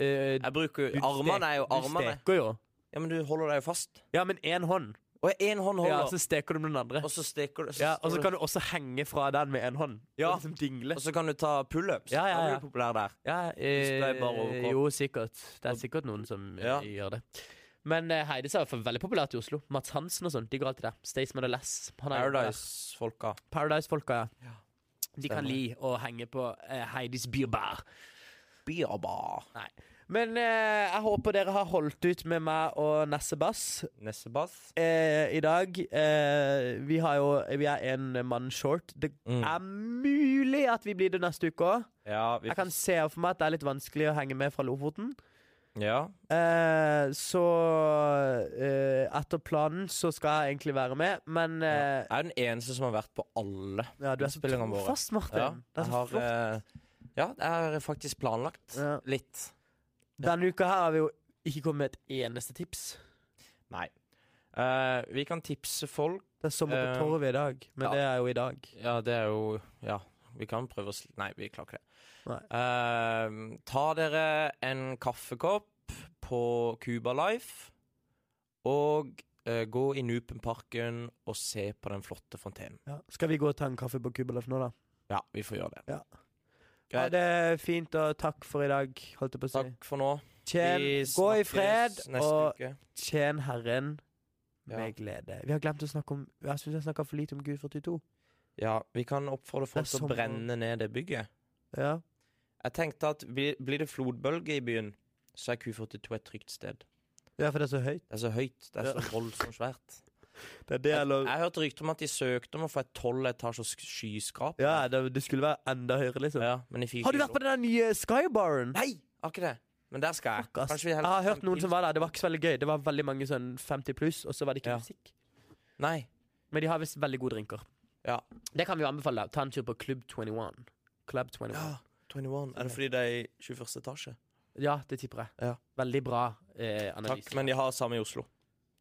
Speaker 2: Eh,
Speaker 1: Jeg bruker
Speaker 2: du
Speaker 1: jo Armene er jo
Speaker 2: stek-
Speaker 1: armene.
Speaker 2: Du steker jo.
Speaker 1: Ja, men du holder deg jo fast.
Speaker 2: Ja, men én hånd.
Speaker 1: Og én hånd
Speaker 2: Ja,
Speaker 1: holder,
Speaker 2: så steker du med den andre.
Speaker 1: og så steker du
Speaker 2: Ja, og så kan du også henge fra den med én hånd.
Speaker 1: Ja.
Speaker 2: Og liksom dingle.
Speaker 1: Og så kan du ta pullups.
Speaker 2: Ja, ja,
Speaker 1: Da blir
Speaker 2: ja.
Speaker 1: du populær der.
Speaker 2: Ja,
Speaker 1: det er bare
Speaker 2: eh,
Speaker 1: overkropp.
Speaker 2: jo, sikkert. Det er sikkert noen som eh,
Speaker 1: Ja.
Speaker 2: gjør det. Men eh, Heidis er i hvert fall veldig populært i Oslo. Mats Hansen og sånn, de går alltid der. Staysman og Less. Han er jo der.
Speaker 1: Paradise-folka.
Speaker 2: Paradise-folka, ja. De kan
Speaker 1: stemmer.
Speaker 2: li å henge på eh, Heidis Bierbar.
Speaker 1: Birba.
Speaker 2: Nei. Men eh, jeg håper dere har holdt ut med meg og Nesse Bass
Speaker 1: Nessebath.
Speaker 2: eh, i dag. Eh, vi, har jo, vi er en mann short. Det
Speaker 1: Mm.
Speaker 2: er mulig at vi blir det neste uke òg.
Speaker 1: Ja, vi
Speaker 2: Jeg kan se for meg at det er litt vanskelig å henge med fra Lofoten.
Speaker 1: Ja.
Speaker 2: Eh, så eh, etter planen så skal jeg egentlig være med, men eh,
Speaker 1: Jeg er den eneste som har vært på alle
Speaker 2: ja, du er så
Speaker 1: innspillingene våre.
Speaker 2: trofast, Martin.
Speaker 1: Ja,
Speaker 2: det er
Speaker 1: jeg
Speaker 2: så
Speaker 1: har,
Speaker 2: flott.
Speaker 1: eh, ja, jeg har faktisk planlagt
Speaker 2: Ja.
Speaker 1: litt.
Speaker 2: Denne uka her har vi jo ikke kommet med et eneste tips.
Speaker 1: Nei. Eh, vi kan tipse folk
Speaker 2: Det er sommer på
Speaker 1: Eh,
Speaker 2: torvet i dag, men
Speaker 1: ja.
Speaker 2: det er jo i dag.
Speaker 1: Ja, det er jo Ja, Vi kan prøve å sl Nei, vi klarer ikke det.
Speaker 2: Nei.
Speaker 1: Eh, ta dere en kaffekopp på Cuba Life, og eh, gå i Nupenparken og se på den flotte fontenen.
Speaker 2: Ja. Skal vi gå og ta en kaffe på Kubeløf nå, da?
Speaker 1: Ja, vi får gjøre det.
Speaker 2: Ha
Speaker 1: Greit.
Speaker 2: det fint, og takk for i dag, holdt jeg på å si.
Speaker 1: Takk for nå.
Speaker 2: Tjen,
Speaker 1: Vi
Speaker 2: gå i
Speaker 1: snakkes
Speaker 2: fred,
Speaker 1: neste
Speaker 2: og
Speaker 1: uke.
Speaker 2: tjen Herren
Speaker 1: Ja.
Speaker 2: med glede. Vi har glemt å snakke om Jeg synes jeg snakka for lite om Gud 42.
Speaker 1: Ja, vi kan oppfordre folk
Speaker 2: Det er
Speaker 1: til å
Speaker 2: sommer.
Speaker 1: brenne ned det bygget.
Speaker 2: Ja.
Speaker 1: Jeg tenkte at blir, blir det flodbølge i byen, så er Q42 et trygt sted.
Speaker 2: ja, for det er så høyt.
Speaker 1: Det er så høyt, det er
Speaker 2: Ja.
Speaker 1: så voldsomt svært.
Speaker 2: Det er det,
Speaker 1: Jeg,
Speaker 2: eller
Speaker 1: jeg hørte rykter om at de søkte om å få et tolv etasjers skyskraper.
Speaker 2: Ja, det, det skulle være enda høyere, liksom.
Speaker 1: Ja, men de fikk
Speaker 2: Har du
Speaker 1: ikke
Speaker 2: vært på
Speaker 1: lov.
Speaker 2: den der nye skybaren?
Speaker 1: Nei, har ikke det. Men der skal jeg.
Speaker 2: Fuck, ass.
Speaker 1: Kanskje vi
Speaker 2: Jeg
Speaker 1: heller-
Speaker 2: har hørt noen som var der. Det var ikke så veldig gøy. Det var veldig mange sånn 50 pluss, og så var det ikke
Speaker 1: Ja.
Speaker 2: musikk.
Speaker 1: Nei.
Speaker 2: Men de har visst veldig gode drinker.
Speaker 1: Ja.
Speaker 2: Det kan vi jo anbefale. deg. Ta en tur på Club 21. Club 21. Ja,
Speaker 1: 21. Er det fordi det er i 21. etasje?
Speaker 2: det tipper jeg.
Speaker 1: Ja.
Speaker 2: Veldig bra eh, analyse.
Speaker 1: Takk, men de har samme i Oslo.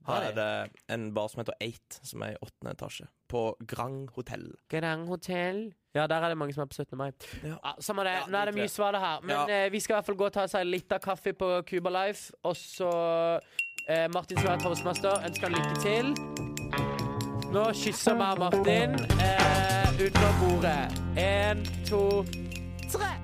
Speaker 2: Har
Speaker 1: Der er det en bar som heter Eight, som er i åttende etasje. På Grand Hotell.
Speaker 2: Grand Hotel. Ja, der er det mange som er på 17. mai.
Speaker 1: Ja.
Speaker 2: Ah, Samme det.
Speaker 1: Ja,
Speaker 2: Nå er det
Speaker 1: drit i
Speaker 2: mye
Speaker 1: det.
Speaker 2: svar det her. Men
Speaker 1: Ja.
Speaker 2: eh, vi skal i hvert fall gå og ta oss en liten kaffe på Cuba Life. Og så eh, Martin skal være toastmaster. Ønsker han lykke til. Nå kysser vi Martin eh, utenom bordet. Én, to, tre.